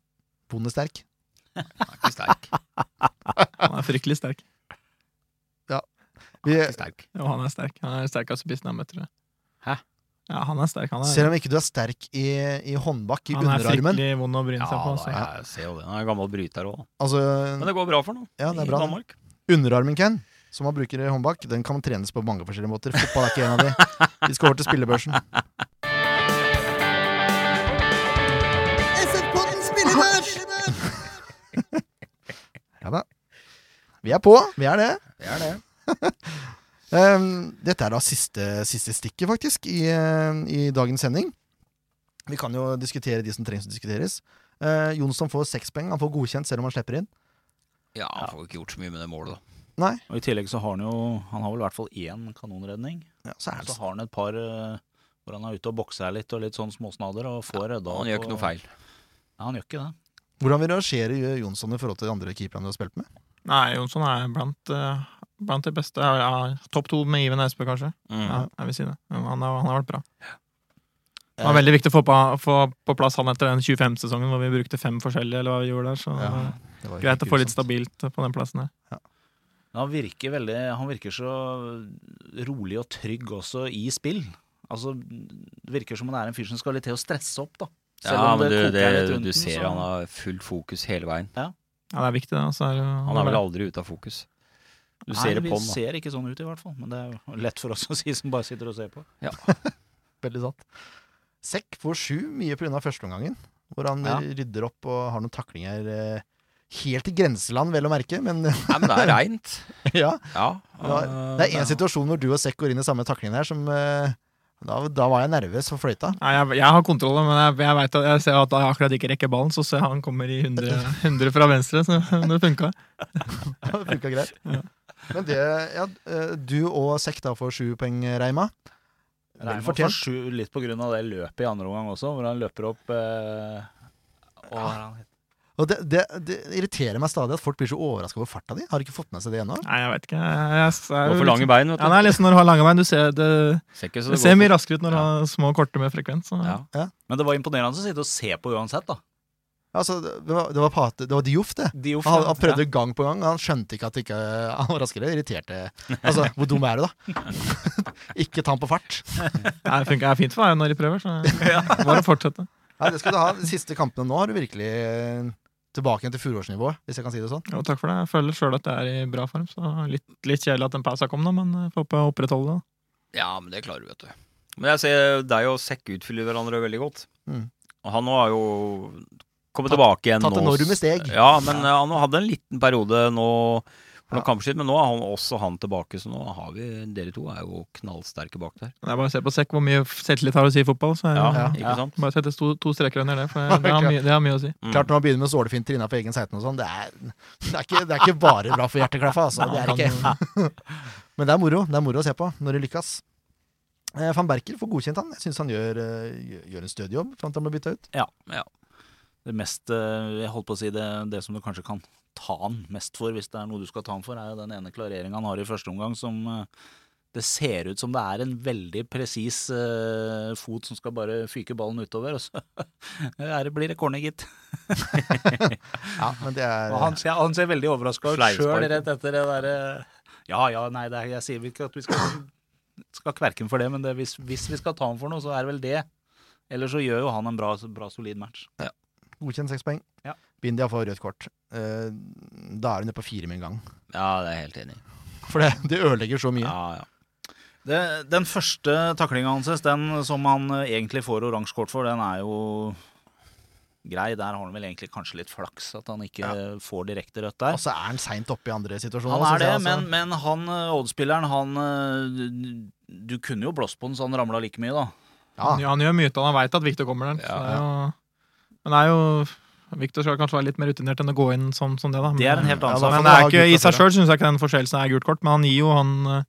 [SPEAKER 4] Bondesterk.
[SPEAKER 5] Han er ikke sterk.
[SPEAKER 1] Han er fryktelig sterk.
[SPEAKER 5] Han
[SPEAKER 4] Vi,
[SPEAKER 5] er ikke sterk.
[SPEAKER 1] Jo, han er sterk. Han er den sterkeste spissen jeg har møtt, tror jeg.
[SPEAKER 5] Hæ?
[SPEAKER 1] Ja, han er sterk. Han er,
[SPEAKER 4] selv om ikke du er sterk i, i håndbakk, i
[SPEAKER 1] han er
[SPEAKER 4] underarmen
[SPEAKER 1] fryktelig vond å bryne
[SPEAKER 5] Ja,
[SPEAKER 1] seg på. altså.
[SPEAKER 5] da,
[SPEAKER 1] Så.
[SPEAKER 5] jeg ser jo det. Han er gammel bryter òg.
[SPEAKER 4] Altså,
[SPEAKER 5] Men det går bra for ham
[SPEAKER 4] ja, det
[SPEAKER 5] i
[SPEAKER 4] er bra. det.
[SPEAKER 5] Danmark.
[SPEAKER 4] Underarmen, Ken, som man bruker i håndbak, den kan trenes på mange forskjellige måter. Fotball er ikke en av de. Vi skal over til spillebørsen.
[SPEAKER 2] SF-podden spillebørs!
[SPEAKER 4] Ja da. Vi er på. Vi er det.
[SPEAKER 5] Det er det.
[SPEAKER 4] Ehm, dette er da siste, siste stikket, faktisk, i, eh, i dagens sending. Vi kan jo diskutere de som trengs å diskuteres. Eh, Jonsson får seks poeng. Han får godkjent selv om han slipper inn.
[SPEAKER 5] Ja, han får jo ikke gjort så mye med det målet, da.
[SPEAKER 6] Og I tillegg så har han jo Han har vel i hvert fall én kanonredning.
[SPEAKER 4] Ja, så er
[SPEAKER 6] Og
[SPEAKER 4] det
[SPEAKER 6] så har han et par eh, hvor han er ute og bokser litt og litt sånn småsnader og får redda
[SPEAKER 5] Han
[SPEAKER 6] opp
[SPEAKER 5] gjør ikke
[SPEAKER 6] og-
[SPEAKER 5] noe feil.
[SPEAKER 6] Nei, han gjør ikke det.
[SPEAKER 4] Hvordan vil du rangere Jonsson i forhold til de andre keeperne du har spilt med?
[SPEAKER 1] Nei, Jonsson er blant, eh, blant de beste. Ja, Topp to med Iven Espe, kanskje.
[SPEAKER 5] Mm.
[SPEAKER 1] Ja, jeg vil si det. Men Han har, han har vært bra. Det var veldig viktig å få på, få på plass han etter den 25-sesongen hvor vi brukte fem forskjellige. eller hva vi gjorde der, så det var
[SPEAKER 4] Det var jo
[SPEAKER 1] Greit å
[SPEAKER 4] helt
[SPEAKER 1] få litt
[SPEAKER 4] grusomt.
[SPEAKER 1] stabilt på den plassen der.
[SPEAKER 6] Men han virker veldig Han virker så rolig og trygg også i spill. Altså, det virker som han er en fyr som skal litt til å stresse opp, da. Selv
[SPEAKER 5] Ja,
[SPEAKER 6] om
[SPEAKER 5] men
[SPEAKER 6] det
[SPEAKER 5] du,
[SPEAKER 6] koker
[SPEAKER 5] det,
[SPEAKER 6] litt rundt
[SPEAKER 5] du
[SPEAKER 6] den,
[SPEAKER 5] ser
[SPEAKER 6] så-
[SPEAKER 5] han har fullt fokus hele veien.
[SPEAKER 1] Ja, Det er viktig, det. altså, er jo-
[SPEAKER 5] Han er vel aldri ute av fokus. Du
[SPEAKER 6] Nei,
[SPEAKER 5] ser det
[SPEAKER 6] vi
[SPEAKER 5] på han, da.
[SPEAKER 6] ser ikke sånn ut i hvert fall, men det er jo lett for oss å si som bare sitter og ser på.
[SPEAKER 4] Veldig sant. Sekk får sju, mye pga. førsteomgangen, hvor han
[SPEAKER 6] Ja.
[SPEAKER 4] rydder opp og har noen taklinger eh, helt i grenseland, vel å merke, men
[SPEAKER 5] Nei, men det er reint.
[SPEAKER 4] ja.
[SPEAKER 5] Ja.
[SPEAKER 4] Ja,
[SPEAKER 5] øh,
[SPEAKER 4] Det er én situasjon hvor du og Sekk går inn i samme takling der, som eh, da, da var jeg nervøs for fløyta.
[SPEAKER 1] Nei, jeg, jeg har kontroll, men jeg, jeg, vet at, jeg ser at jeg akkurat ikke rekker ballen. Så ser jeg han kommer i 100, 100 fra venstre, så det funka.
[SPEAKER 4] Det funka greit. Men det ja, eh, Du og Sekk da får sju poeng, eh, Reima. Vel
[SPEAKER 6] Reimann får
[SPEAKER 4] fortjent.
[SPEAKER 6] sju litt på grunn av det løpet i andre omgang også, hvor han løper opp eh, og han
[SPEAKER 4] Og det, det, det irriterer meg stadig at folk blir så overraska over farta di. Har de ikke fått med seg det ennå?
[SPEAKER 1] Nei, jeg vet ikke. Jeg, jeg, jeg,
[SPEAKER 5] Du har for lange bein,
[SPEAKER 1] Ja,
[SPEAKER 5] vet du.
[SPEAKER 1] nei, liksom Når du har lange bein, du ser det,
[SPEAKER 5] Ser ikke så
[SPEAKER 1] det
[SPEAKER 5] det
[SPEAKER 1] ser mye
[SPEAKER 5] går.
[SPEAKER 1] raskere ut når du har små korte med frekvens. Så.
[SPEAKER 5] Ja.
[SPEAKER 6] Men det var imponerende å sitte og se på uansett, da.
[SPEAKER 4] Altså, det, var, det, var Pate, det var Dioff, det.
[SPEAKER 6] Dioff,
[SPEAKER 4] Han, han
[SPEAKER 6] ja.
[SPEAKER 4] prøvde gang på gang. Han skjønte ikke at ikke, han var raskere. Det irriterte Altså, hvor dum er du, da? ikke ta han på fart.
[SPEAKER 1] Nei, Det funker fint for meg når de prøver, så bare fortsette.
[SPEAKER 4] Nei, det skal du ha. De siste kampene nå har du virkelig eh, tilbake igjen til fjorårsnivået, hvis jeg kan si det sånn.
[SPEAKER 1] Jo, takk for det. Jeg føler sjøl at jeg er i bra form. så Litt, litt kjedelig at den pausa kom, da, men jeg får håpe jeg opprettholder det.
[SPEAKER 5] ja, men det klarer du, vet du. Men jeg ser deg og Sekk utfyller hverandre veldig godt.
[SPEAKER 4] Mm.
[SPEAKER 5] Og han har jo kommet
[SPEAKER 4] Tatt-
[SPEAKER 5] tilbake igjen
[SPEAKER 4] tatt
[SPEAKER 5] nå.
[SPEAKER 4] enorme steg.
[SPEAKER 5] Ja, men øh, han hadde en liten periode nå for noen
[SPEAKER 4] Ja.
[SPEAKER 5] kamper siden, men nå er han, også han tilbake, så nå har vi Dere to er jo knallsterke bak der.
[SPEAKER 1] Det er bare å se på Sekk hvor mye selvtillit har å si i fotball. så jeg,
[SPEAKER 5] Ja,
[SPEAKER 4] Ja.
[SPEAKER 5] ikke sant?
[SPEAKER 1] Bare sette to, to streker under det, for det har, mye, det har mye å si.
[SPEAKER 5] Mm.
[SPEAKER 4] Klart når man begynner med sålefinter innafor egen 16 og sånn, det, er- det, er ikke- det er ikke bare bra for hjerteklaffa, altså. Det er ikke. Men det er moro. Det er moro å se på når de lykkes. Eh, Van Berker får godkjent han. Jeg syns han gjør, eh, gjør en stødig jobb fram til han blir bytta ut.
[SPEAKER 6] Det mest, eh, jeg holdt på å si det, det som du kanskje kan ta han mest for, hvis det er noe du skal ta han for, er jo den ene klareringen han har i første omgang som eh, det ser ut som det er en veldig presis eh, fot som skal bare fyke ballen utover, og så er det, blir det corner, gitt.
[SPEAKER 4] Ja, men det er
[SPEAKER 6] Og han, ser- han ser veldig overraska ut
[SPEAKER 5] Fleispark.
[SPEAKER 6] sjøl rett etter det derre Ja ja, nei, det er, jeg sier ikke at vi skal, skal kverke ham for det, men det, hvis, hvis vi skal ta ham for noe, så er det vel det. Ellers så gjør jo han en bra, bra solid match.
[SPEAKER 4] godkjent seks poeng.
[SPEAKER 6] Ja.
[SPEAKER 4] Bindia får rødt kort. Eh, Da er hun nede på fire med en gang.
[SPEAKER 5] Ja, det er jeg helt enig i.
[SPEAKER 4] For det, det ødelegger så mye.
[SPEAKER 5] Ja, ja.
[SPEAKER 6] Det, den første taklinga hans, den som han eh, egentlig får oransje kort for, den er jo grei. Der har han vel egentlig kanskje litt flaks at han ikke eh, får direkte rødt der.
[SPEAKER 4] Og så er han seint oppe i andre situasjoner.
[SPEAKER 6] Han er
[SPEAKER 4] Altså, synes
[SPEAKER 6] det,
[SPEAKER 4] jeg, altså.
[SPEAKER 6] men, men han eh, oddspilleren, han eh, Du kunne jo blåst på den så han ramla like mye, da.
[SPEAKER 4] Ja.
[SPEAKER 1] Ja, han gjør mye ut av det. Han veit at Victor kommer der. så det er jo, men det er jo Victor skal kanskje være litt mer rutinert enn å gå inn som, som det, da.
[SPEAKER 6] Det er en
[SPEAKER 4] Mm.
[SPEAKER 6] helt
[SPEAKER 4] Ja,
[SPEAKER 6] annen
[SPEAKER 4] da får
[SPEAKER 6] sak.
[SPEAKER 1] men
[SPEAKER 4] man
[SPEAKER 1] det
[SPEAKER 4] ha
[SPEAKER 1] er ikke,
[SPEAKER 4] gult
[SPEAKER 1] i
[SPEAKER 4] kort for
[SPEAKER 1] seg sjøl syns jeg ikke den forseelsen er gult kort, men han gir jo han eh,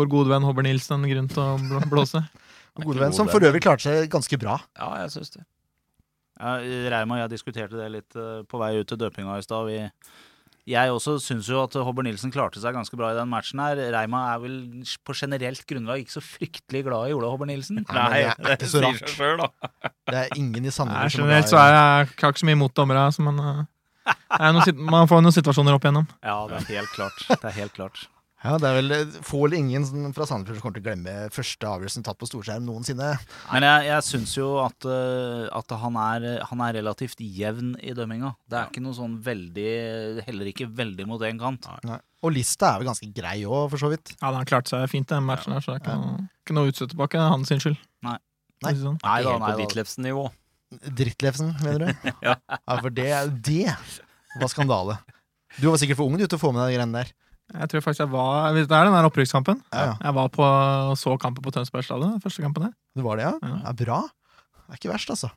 [SPEAKER 1] vår gode venn Hobber Nilsen en grunn til å bl- blåse.
[SPEAKER 4] Gode venn, som for øvrig klarte seg ganske bra.
[SPEAKER 5] ja, jeg syns det.
[SPEAKER 6] Ja, Reima og jeg diskuterte det litt eh, på vei ut til døpinga i stad. Vi- Jeg også syns jo at Hobber Nilsen klarte seg ganske bra i den matchen her. Reima er vel på generelt grunnlag ikke så fryktelig glad i Ola Hobber Nilsen.
[SPEAKER 4] Nei, men det er ikke så
[SPEAKER 5] sier
[SPEAKER 4] rart.
[SPEAKER 5] seg sjøl, da.
[SPEAKER 4] Det er ingen i
[SPEAKER 1] Nei,
[SPEAKER 4] Sandefjord
[SPEAKER 1] generelt så er jeg jeg har ikke så mye imot dommere, så man, eh, det er noen sit- man får noen situasjoner opp igjennom.
[SPEAKER 6] Ja, det er helt klart. Det er helt klart.
[SPEAKER 4] Ja, det er vel eh, få eller ingen som- fra Sandefjord som kommer til å glemme første avgjørelsen tatt på storskjerm noensinne.
[SPEAKER 6] Men jeg, jeg syns jo at, eh, at han, er, han er relativt jevn i dømminga. Det er ikke noe sånn veldig Heller ikke veldig mot én kant.
[SPEAKER 4] Og lista er vel ganske grei òg, for så vidt.
[SPEAKER 1] Ja, Han klarte seg fint i den matchen, her, så det er ikke noe, ikke noe å utsette tilbake. Det er hans sin skyld.
[SPEAKER 6] Nei.
[SPEAKER 4] Nei.
[SPEAKER 1] Ikke Sånn.
[SPEAKER 6] Nei da,
[SPEAKER 5] Helt på
[SPEAKER 6] nei da.
[SPEAKER 5] Ditlevsen-nivå.
[SPEAKER 4] Drittlefsen, mener du? ja. For det, det var skandale. Du var sikkert for ung du til å få med deg de greiene der.
[SPEAKER 1] Jeg tror faktisk jeg var Det er den der opprykkskampen.
[SPEAKER 4] Ja, ja.
[SPEAKER 1] Jeg var på og så kampen på Tønsberg stadion. den Første kampen der.
[SPEAKER 4] Du var det, ja?
[SPEAKER 1] Ja.
[SPEAKER 4] ja bra. Det er ikke verst, altså.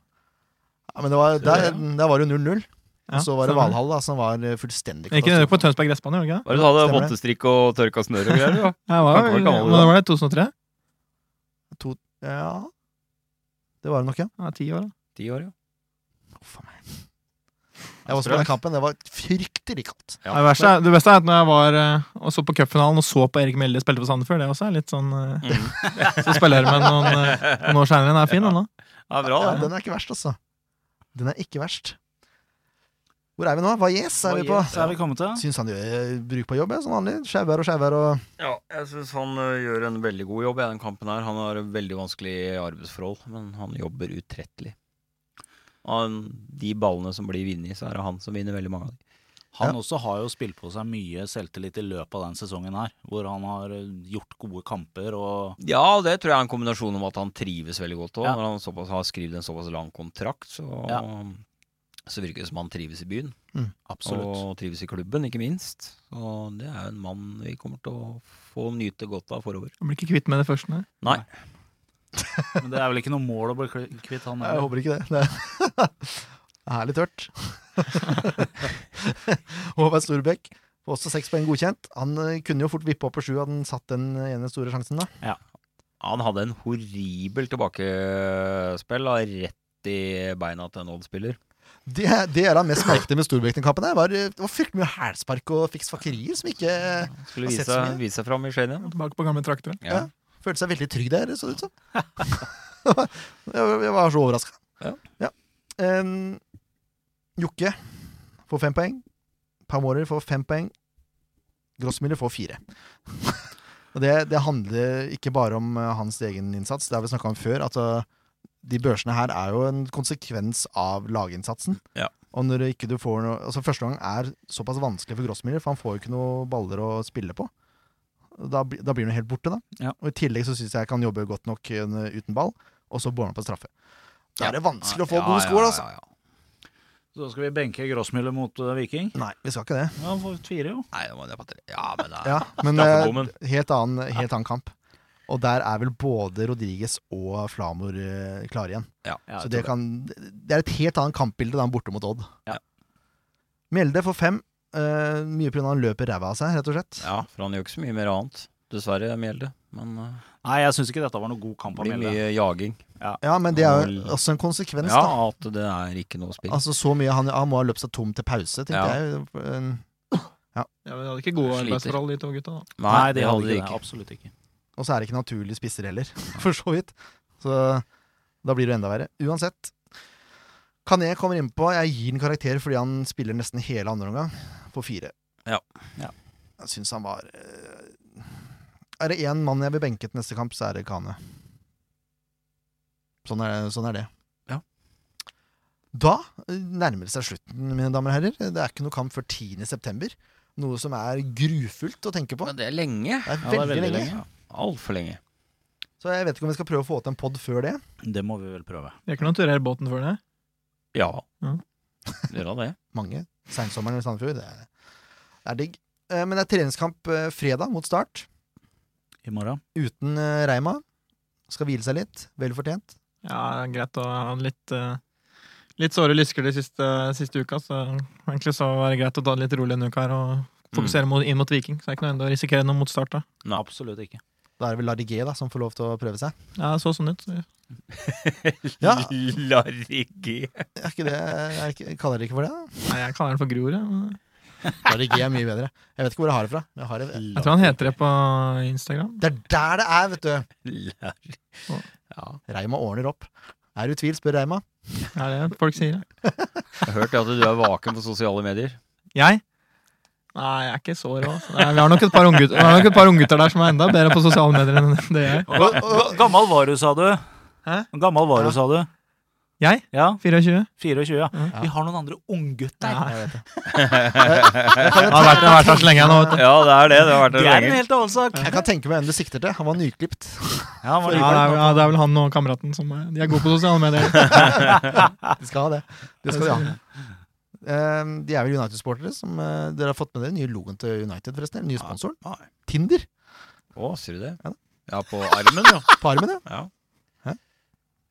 [SPEAKER 4] Ja, men det var, der, der var det jo 0-0.
[SPEAKER 1] Ja,
[SPEAKER 4] Og så var det
[SPEAKER 1] stemmer.
[SPEAKER 4] Valhall, da, som var eh, fullstendig
[SPEAKER 1] Ikke det var på Tønsberg gressbane, gjorde det ikke det?
[SPEAKER 5] Bare du hadde
[SPEAKER 4] Stemmer det.
[SPEAKER 5] våtestrikk og tørka snørr og greier, du, da.
[SPEAKER 1] Jeg var,
[SPEAKER 5] Kanskje det var gammel,
[SPEAKER 1] hva
[SPEAKER 5] da.
[SPEAKER 1] var det 2003?
[SPEAKER 4] To, ja, det var det nok, ja.
[SPEAKER 1] Ja, ti år, da.
[SPEAKER 5] Ti år, ja.
[SPEAKER 4] Uff a meg. Jeg var også på den kampen. Det var fryktelig kaldt.
[SPEAKER 5] Ja.
[SPEAKER 1] Ja, Det, verste, er- det beste er at når jeg var eh, og så på cupfinalen og så på Erik Melde spilte for Sandefjord, det også er litt sånn eh,
[SPEAKER 5] Mm.
[SPEAKER 1] Så spiller jeg med noen, eh, noen år seinere. Den er fin, den da.
[SPEAKER 5] Ja, bra,
[SPEAKER 4] Ja,
[SPEAKER 5] det.
[SPEAKER 4] den er ikke verst, altså. Den er ikke verst. Hvor er vi nå? Vaies er vi på.
[SPEAKER 6] Så er vi kommet til
[SPEAKER 4] Syns han gjør eh, bruk på jobb, ja, som vanlig. Skjævær og skjævær og
[SPEAKER 5] Ja, jeg syns han ø, gjør en veldig god jobb i den kampen her. Han har veldig vanskelig arbeidsforhold, men han jobber utrettelig. Han, de ballene som blir vunnet, så er det han som vinner veldig mange av dem.
[SPEAKER 6] Han også har jo spilt på seg mye selvtillit i løpet av den sesongen her, hvor han har eh, gjort gode kamper og
[SPEAKER 5] Ja, det tror jeg er en kombinasjon om at han trives veldig godt òg.
[SPEAKER 6] Ja.
[SPEAKER 5] Når han såpass har skrevet en såpass lang kontrakt, så, så virker det som han trives i byen.
[SPEAKER 6] Absolutt.
[SPEAKER 5] Og trives i klubben, ikke minst. Og det er jo en mann vi kommer til å få nyte godt av forover.
[SPEAKER 1] Jeg blir ikke kvitt med det første. Nei.
[SPEAKER 5] Nei.
[SPEAKER 6] Men det er vel ikke noe mål å bli kl- kvitt han
[SPEAKER 4] Jeg
[SPEAKER 6] heller.
[SPEAKER 4] håper ikke det. Det er herlig tørt. Håvard Storbekk får også seks poeng godkjent. Han eh, kunne jo fort vippe opp på sju, hadde han satt den eh, ene store sjansen, da.
[SPEAKER 5] Han hadde en horribel tilbakespill, da, rett i beina til en Odd-spiller.
[SPEAKER 4] Det, det er han mest merket med Storbekk-kampen. Det var, eh, det var fryktelig mye hælspark og fiks fakkerier som ikke eh,
[SPEAKER 5] Skulle
[SPEAKER 4] Har
[SPEAKER 5] vise,
[SPEAKER 4] sett så mye.
[SPEAKER 5] seg- vise seg fram i Skien igjen.
[SPEAKER 1] Tilbake på gamle trakter.
[SPEAKER 5] Ja.
[SPEAKER 4] Ja. følte seg veldig trygg der, så det ut som. jeg, jeg var så overraska.
[SPEAKER 5] Ja.
[SPEAKER 4] Em, Jokke får fem poeng. Pamorer får fem poeng. Grossmiller får fire. Og det, det handler ikke bare om eh, hans egen innsats, det har vi snakka om før. At eh, de børsene her er jo en konsekvens av laginnsatsen.
[SPEAKER 5] Ja.
[SPEAKER 4] Og når ikke du får noe Altså Første gang er såpass vanskelig for Grossmiller, for han får jo ikke noe baller å spille på. Da, bli- da blir han helt borte, da. Og I tillegg så syns jeg ikke han jobber godt nok eh, uten ball, og så bor han på straffe. Da er det vanskelig å få
[SPEAKER 5] Ja,
[SPEAKER 4] gode
[SPEAKER 5] ja,
[SPEAKER 4] score,
[SPEAKER 5] ja,
[SPEAKER 4] altså.
[SPEAKER 5] ja, ja.
[SPEAKER 6] Så skal vi benke Grossmüller mot eh, Viking.
[SPEAKER 4] Nei, vi skal ikke det.
[SPEAKER 6] Ja, han får fire, jo.
[SPEAKER 5] Nei, det var det på tre. Ja, men det er
[SPEAKER 4] Ja, men
[SPEAKER 5] Straffebommen.
[SPEAKER 4] eh, helt, annen, helt annen kamp. Og der er vel både Rodriges og Flamor eh, klare igjen.
[SPEAKER 5] ja.
[SPEAKER 6] Ja,
[SPEAKER 4] Så
[SPEAKER 6] jeg
[SPEAKER 4] det,
[SPEAKER 6] tror
[SPEAKER 4] kan, det er et helt annet kampbilde da han er borte mot Odd.
[SPEAKER 5] Ja.
[SPEAKER 4] Mjelde får fem. Eh, mye pga. han løper ræva av seg, rett og slett.
[SPEAKER 5] ja, for han gjør ikke så mye mer annet. Dessverre, Mjelde. Men eh,
[SPEAKER 6] Nei, jeg syns ikke dette var noe god kamp
[SPEAKER 5] det
[SPEAKER 6] av
[SPEAKER 5] blir
[SPEAKER 6] Mjelde.
[SPEAKER 5] mye jaging.
[SPEAKER 4] Ja, men det er
[SPEAKER 5] Vel-
[SPEAKER 4] jo også en konsekvens,
[SPEAKER 5] Ja,
[SPEAKER 4] da.
[SPEAKER 5] at det er ikke noe spill.
[SPEAKER 4] Altså så mye han, han må ha løpt seg tom til pause, tenkte
[SPEAKER 5] Ja.
[SPEAKER 4] jeg. Eh,
[SPEAKER 1] Ja, men De hadde ikke gode
[SPEAKER 5] Sliter.
[SPEAKER 1] arbeidsforhold, de to gutta. da.
[SPEAKER 5] Nei, det hadde de
[SPEAKER 6] det.
[SPEAKER 5] ikke.
[SPEAKER 6] Absolutt ikke.
[SPEAKER 4] Og så er det ikke naturlige spisser heller, for så vidt. Så da blir det enda verre. Uansett. Kané kommer innpå. Jeg gir den karakter fordi han spiller nesten hele andre omgang på fire.
[SPEAKER 5] Ja.
[SPEAKER 6] Ja.
[SPEAKER 4] Jeg syns han var eh, Er det én mann jeg vil benke til neste kamp, så er det Kané. Sånn er, sånn er det.
[SPEAKER 5] Ja.
[SPEAKER 4] Da eh, nærmer det seg slutten, mine damer og herrer. Det er ikke noe kamp før 10.9. Noe som er grufullt å tenke på.
[SPEAKER 5] Men det er lenge.
[SPEAKER 4] Det er
[SPEAKER 6] Ja,
[SPEAKER 4] veldig, lenge.
[SPEAKER 5] Altfor lenge.
[SPEAKER 4] Så jeg vet ikke om vi skal prøve å få til en pod før det.
[SPEAKER 6] Det må vi vel prøve.
[SPEAKER 1] Jeg kan jo turere båten for det.
[SPEAKER 5] Ja.
[SPEAKER 1] Ja.
[SPEAKER 4] Mm.
[SPEAKER 5] Gjør han det?
[SPEAKER 4] Mange. Seinsommeren i Sandefjord. Det er, det er digg. Eh, Men det er treningskamp eh, fredag mot start.
[SPEAKER 6] I morgen.
[SPEAKER 4] Uten eh, Reima. Skal hvile seg litt. Vel fortjent.
[SPEAKER 1] Ja, det er greit å ha litt, eh, litt såre lysker de siste, siste uka, så egentlig så var det greit å ta det litt rolig en uke her og
[SPEAKER 5] Mm.
[SPEAKER 1] fokusere mot, inn mot Viking. Så det er ikke noe å risikere noe mot start da.
[SPEAKER 5] Nei.
[SPEAKER 6] Absolutt ikke.
[SPEAKER 4] Da er det vel Larigé da, som får lov til å prøve seg.
[SPEAKER 1] Ja, det så sånn ut. Så vi-
[SPEAKER 4] Ja.
[SPEAKER 5] Larry G.
[SPEAKER 4] Er ikke det, er ikke, kaller dere ikke for det? da?
[SPEAKER 1] Nei, jeg kaller den for Grorud. jeg, men
[SPEAKER 4] Larigé er mye bedre. Jeg vet ikke hvor jeg har det fra. men Jeg har det.
[SPEAKER 1] Jeg tror han heter det på Instagram.
[SPEAKER 4] Det er der det er, vet du!
[SPEAKER 5] Larry.
[SPEAKER 4] Reima ordner opp. Er du i tvil, spør Reima.
[SPEAKER 1] Er det folk sier det?
[SPEAKER 5] Jeg har hørt at du er vaken på sosiale medier.
[SPEAKER 1] Jeg? Nei, jeg er ikke så rå. altså. Nei, Vi har nok et par unggutter, vi har nok et par unggutter der som er enda bedre på sosiale medier enn det jeg er.
[SPEAKER 6] Gammel var du, sa du?
[SPEAKER 1] Hæ?
[SPEAKER 6] Gammel var
[SPEAKER 4] Ja.
[SPEAKER 6] du, sa du? Mhm.
[SPEAKER 1] Jeg?
[SPEAKER 6] Ja,
[SPEAKER 1] 24?
[SPEAKER 6] 24, ja.
[SPEAKER 1] Ja.
[SPEAKER 6] Vi har noen andre unggutter.
[SPEAKER 1] Ja.
[SPEAKER 4] Jeg vet det.
[SPEAKER 1] Jeg har vært, jeg har vært her så lenge jeg nå. vet du.
[SPEAKER 5] Ja, det er det. Det har vært
[SPEAKER 6] Det
[SPEAKER 5] det
[SPEAKER 6] er en
[SPEAKER 5] lenge.
[SPEAKER 6] helt annen sak.
[SPEAKER 4] Jeg kan tenke meg hvem du sikter til. Han var nyklipt.
[SPEAKER 6] Ja,
[SPEAKER 1] Ja,
[SPEAKER 6] var
[SPEAKER 1] det,
[SPEAKER 6] det-
[SPEAKER 1] er, ja, det er vel han og kameraten som er, De er gode på sosiale medier.
[SPEAKER 4] De skal ha det. Det skal de ha. Eh, De er vel United-sportere. som eh, Dere har fått med dere nye logoen til United, forresten. Den nye sponsoren.
[SPEAKER 5] Nei.
[SPEAKER 4] Tinder
[SPEAKER 5] Å, sier du
[SPEAKER 4] Ja.
[SPEAKER 5] det? Ja, på armen, ja.
[SPEAKER 4] på armen, ja.
[SPEAKER 5] Ja,
[SPEAKER 4] Hæ?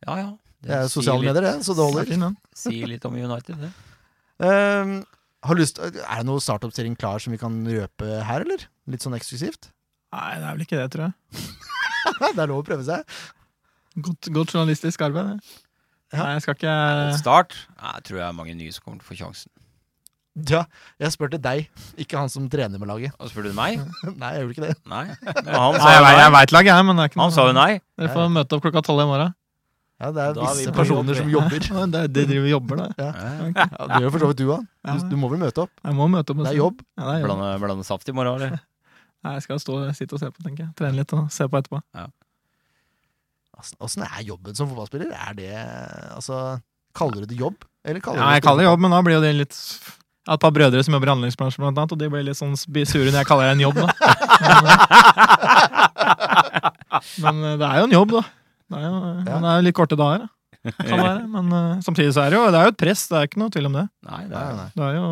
[SPEAKER 5] ja. ja.
[SPEAKER 4] Det er
[SPEAKER 5] sier
[SPEAKER 4] sosiale
[SPEAKER 5] litt-
[SPEAKER 4] medier, det. Så det
[SPEAKER 1] Det er
[SPEAKER 4] holder.
[SPEAKER 1] fin, den.
[SPEAKER 5] Sier litt om United, det.
[SPEAKER 4] Eh, har lyst, er det noe startoppstilling klar som vi kan røpe her, eller? Litt sånn eksklusivt?
[SPEAKER 1] Nei, det er vel ikke det, tror jeg.
[SPEAKER 4] det er lov å prøve seg.
[SPEAKER 1] Godt, godt journalistisk arbeid. det.
[SPEAKER 4] Ja.
[SPEAKER 1] Nei, jeg skal ikke
[SPEAKER 5] Start? Nei, Jeg tror det er mange nye som kommer til å få sjansen.
[SPEAKER 4] Ja, jeg spurte deg, ikke han som trener med laget.
[SPEAKER 5] Og spør du meg?
[SPEAKER 4] Nei, jeg gjorde ikke det.
[SPEAKER 5] Nei. Men han
[SPEAKER 1] Nei,
[SPEAKER 5] sa jo
[SPEAKER 1] jeg, jeg
[SPEAKER 5] nei.
[SPEAKER 1] veit laget, jeg, men det er ikke
[SPEAKER 5] Han sa jo nei.
[SPEAKER 1] Dere får møte opp klokka tolv i morgen.
[SPEAKER 4] Ja, det er
[SPEAKER 6] Da er vi
[SPEAKER 4] visse
[SPEAKER 6] på
[SPEAKER 4] personer
[SPEAKER 6] jobb,
[SPEAKER 4] som
[SPEAKER 6] vi.
[SPEAKER 4] jobber.
[SPEAKER 1] Ja, det, det driver og jobber, det.
[SPEAKER 5] Ja.
[SPEAKER 1] Ok.
[SPEAKER 4] Ja, det gjør for så vidt du òg. Du, du må vel møte opp?
[SPEAKER 1] Jeg må møte opp.
[SPEAKER 4] Det
[SPEAKER 1] en
[SPEAKER 4] er
[SPEAKER 1] stund.
[SPEAKER 4] jobb.
[SPEAKER 1] Ja, det er jobb.
[SPEAKER 5] Blande, blande saft i morgen, eller?
[SPEAKER 1] Nei, jeg skal stå, sitte og se på, tenker jeg. Trene litt og se på etterpå.
[SPEAKER 4] Altså, Åssen er jobben som fotballspiller? Er det Altså, kaller du det jobb? Eller kaller
[SPEAKER 1] Ja,
[SPEAKER 4] du
[SPEAKER 1] jeg kaller det jobb, men da blir jo det litt Jeg har et par brødre som jobber i anleggsbransjen, blant annet, og de blir litt sånn sp- sure når jeg kaller det en jobb, da. eh, Men eh, det er jo en jobb, da. Det er jo, eh,
[SPEAKER 4] Ja.
[SPEAKER 1] men det er jo litt korte dager, da. Kan være. Men eh, samtidig så er det jo, det er jo et press, det er ikke noe tvil om det.
[SPEAKER 5] Nei, det
[SPEAKER 4] Nei,
[SPEAKER 5] er
[SPEAKER 4] nei.
[SPEAKER 1] Det er jo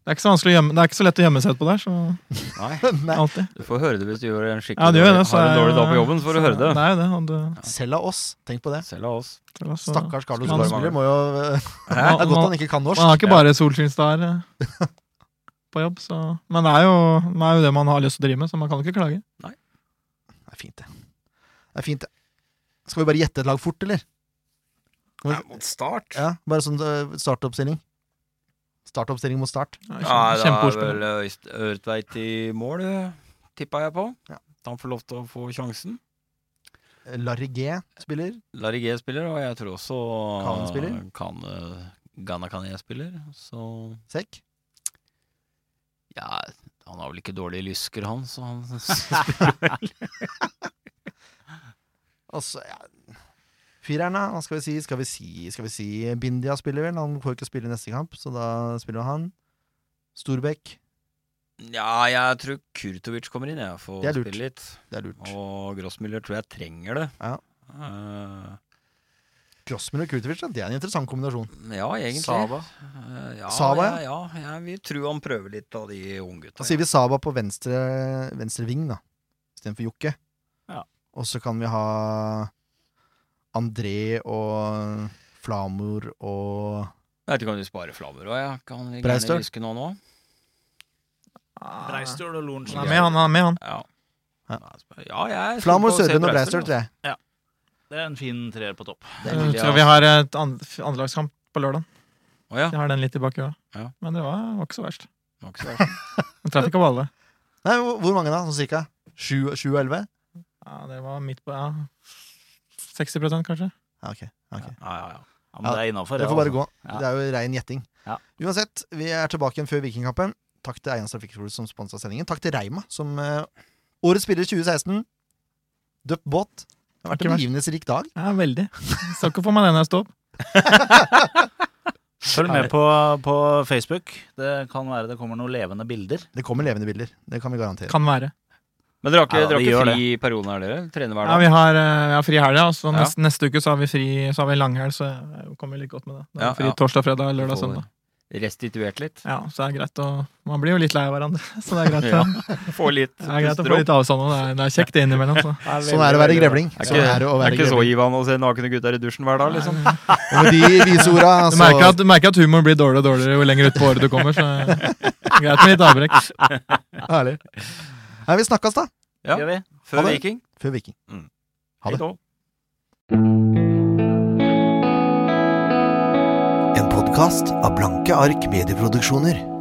[SPEAKER 1] det er ikke så vanskelig å gjemme Det er ikke så lett å gjemme seg utpå der, så
[SPEAKER 5] Nei.
[SPEAKER 4] Nei.
[SPEAKER 1] alltid.
[SPEAKER 5] Du får høre det hvis du gjør en skikkelig
[SPEAKER 1] Ja, det gjør det.
[SPEAKER 5] dårlig,
[SPEAKER 1] så
[SPEAKER 5] har en
[SPEAKER 1] er
[SPEAKER 5] dårlig dag på
[SPEAKER 1] jo-
[SPEAKER 5] jobben, for å
[SPEAKER 1] så-
[SPEAKER 5] høre det.
[SPEAKER 1] Det er jo det. Og du,
[SPEAKER 4] Selv av oss, tenk på det.
[SPEAKER 5] Selv av oss.
[SPEAKER 1] det altså- var så-
[SPEAKER 4] Stakkars Carlos
[SPEAKER 1] Man-
[SPEAKER 4] Borgspiller må jo Det
[SPEAKER 1] Man-
[SPEAKER 4] er godt
[SPEAKER 1] man-
[SPEAKER 4] han ikke kan
[SPEAKER 1] Man eh, har
[SPEAKER 4] norsk.
[SPEAKER 1] ikke bare solskinnsdager eh, på jobb, så Men det er, jo, det er jo det man har lyst til å drive med, så man kan ikke klage.
[SPEAKER 4] Det er fint, det. Det er fint, det. Skal vi bare gjette et lag fort, eller? Kan vi-
[SPEAKER 5] mot start?
[SPEAKER 4] Ja, bare sånn eh, startoppstilling. Startoppstilling mot start.
[SPEAKER 1] Det er
[SPEAKER 5] Ja,
[SPEAKER 1] kjempe-
[SPEAKER 5] da er
[SPEAKER 1] Kjempeordspill.
[SPEAKER 5] vel Øyst- Ørtveit i mål, tippa jeg på.
[SPEAKER 4] Ja.
[SPEAKER 5] Han får lov til å få sjansen.
[SPEAKER 4] Larry G spiller.
[SPEAKER 5] Larry G spiller, og jeg tror også
[SPEAKER 4] Khan spiller?
[SPEAKER 5] Kan, eh, Ghana Kané spiller. Så
[SPEAKER 4] Sekk.
[SPEAKER 5] ja, han har vel ikke dårlige lysker, han, så han
[SPEAKER 4] Og så, ja Fireren, da? Hva skal vi si? Skal vi si, skal vi si Bindia spiller vel? Han får ikke spille neste kamp, så da spiller han. Storbekk.
[SPEAKER 5] Ja, jeg tror Kurtovic kommer inn, jeg, får
[SPEAKER 4] Det er lurt.
[SPEAKER 5] spille litt.
[SPEAKER 4] Det er lurt.
[SPEAKER 5] Og Grossmüller tror jeg trenger det.
[SPEAKER 4] Ja.
[SPEAKER 5] Eh,
[SPEAKER 4] Crossman og Kurtovic, da, det er en interessant kombinasjon.
[SPEAKER 5] ja, egentlig.
[SPEAKER 6] Saba.
[SPEAKER 5] Eh, ja,
[SPEAKER 4] Saba, ja.
[SPEAKER 5] ja. ja, jeg vil tro han prøver litt av de unggutta.
[SPEAKER 4] Da sier vi Saba på venstre, venstre ving, da. Istedenfor Jokke.
[SPEAKER 6] Ja.
[SPEAKER 4] Og så kan vi ha André og Flamor og
[SPEAKER 5] Jeg vet ikke om du sparer Flammer òg, ja. Kan vi
[SPEAKER 4] Breistøl?
[SPEAKER 5] gjerne huske noen òg?
[SPEAKER 1] Han
[SPEAKER 6] Breistøl og Lorentzen.
[SPEAKER 1] er med, Ah, han. han er med, han.
[SPEAKER 5] Ja.
[SPEAKER 4] Ja.
[SPEAKER 5] ja, jeg
[SPEAKER 4] Flamor, Sørlund og Breistøl, tror jeg.
[SPEAKER 6] Det er en fin treer på topp.
[SPEAKER 5] Det
[SPEAKER 1] Jeg
[SPEAKER 5] vil jeg
[SPEAKER 1] tror vi har et and- andrelagskamp på lørdag.
[SPEAKER 5] Å ja.
[SPEAKER 1] Jeg har den litt i bakhuet.
[SPEAKER 5] Ja.
[SPEAKER 1] Men det var, var ikke så verst.
[SPEAKER 5] Det var ikke så verst.
[SPEAKER 1] Jeg traff ikke på alle.
[SPEAKER 4] Nei, hvor- hvor mange, da? Sånn cirka? Sju sju og elleve?
[SPEAKER 1] Ja, det var midt på ja. 60 kanskje.
[SPEAKER 4] Ja, ok. ok.
[SPEAKER 5] Ja, ja, ja.
[SPEAKER 6] Ja, altså. men det er innafor.
[SPEAKER 4] Det får bare gå.
[SPEAKER 6] Ja.
[SPEAKER 4] Det er jo rein gjetting.
[SPEAKER 6] Ja.
[SPEAKER 4] Uansett, vi er tilbake igjen før Vikingkampen. Takk til Eians Trafikkskole som sponsa sendingen. Takk til Reima, som eh, årets spiller 2016. Døpt båt. Det har vært
[SPEAKER 1] Ikke
[SPEAKER 4] en
[SPEAKER 1] verst.
[SPEAKER 4] begivenhetsrik dag.
[SPEAKER 1] Ja, veldig. Så ikke for meg den jeg står opp.
[SPEAKER 6] Følg med på, på Facebook. Det kan være det kommer noen levende bilder.
[SPEAKER 4] Det kommer levende bilder. Det kan vi garantere.
[SPEAKER 1] Kan være.
[SPEAKER 5] Men dere har ikke,
[SPEAKER 6] Ja,
[SPEAKER 5] dere
[SPEAKER 6] vi
[SPEAKER 5] har
[SPEAKER 6] gjør
[SPEAKER 5] ikke fri i perioden her, dere? Trener hver
[SPEAKER 1] Ja,
[SPEAKER 5] dag?
[SPEAKER 1] vi har, eh, vi har fri helg, ja. Så
[SPEAKER 5] Ja.
[SPEAKER 1] neste, neste uke så har vi fri Så har vi langhelg, så jeg kommer like godt med det. Da er
[SPEAKER 5] Ja,
[SPEAKER 1] det fri
[SPEAKER 5] ja.
[SPEAKER 1] torsdag, fredag, lørdag,
[SPEAKER 5] Får-
[SPEAKER 1] søndag.
[SPEAKER 5] Restituert litt?
[SPEAKER 1] Ja, så det er greit å Man blir jo litt lei av hverandre, så det er greit, å-
[SPEAKER 5] Få litt
[SPEAKER 1] det er greit å få litt avstand. Og det, er, det er kjekt det innimellom. Så.
[SPEAKER 4] Sånn er det å være grevling.
[SPEAKER 5] Det er
[SPEAKER 4] Sånn
[SPEAKER 5] ikke,
[SPEAKER 4] er det å
[SPEAKER 5] det er
[SPEAKER 4] være
[SPEAKER 5] ikke så
[SPEAKER 4] grevling.
[SPEAKER 5] givende å se nakne gutter i dusjen hver dag, liksom.
[SPEAKER 4] Og med de altså- vise orda
[SPEAKER 1] Du
[SPEAKER 4] så
[SPEAKER 1] merker at, du merker at humoren blir dårligere og dårligere jo lenger ut på året du kommer. Så det er greit med litt avbrekk.
[SPEAKER 4] Herlig. Nei, vi snakkes, da.
[SPEAKER 5] Ja.
[SPEAKER 6] Gjør vi?
[SPEAKER 4] Ha
[SPEAKER 5] Før
[SPEAKER 4] det.
[SPEAKER 5] Viking.
[SPEAKER 4] Før Viking. Ha det.
[SPEAKER 5] Hei da.
[SPEAKER 2] En podkast av Blanke ark medieproduksjoner.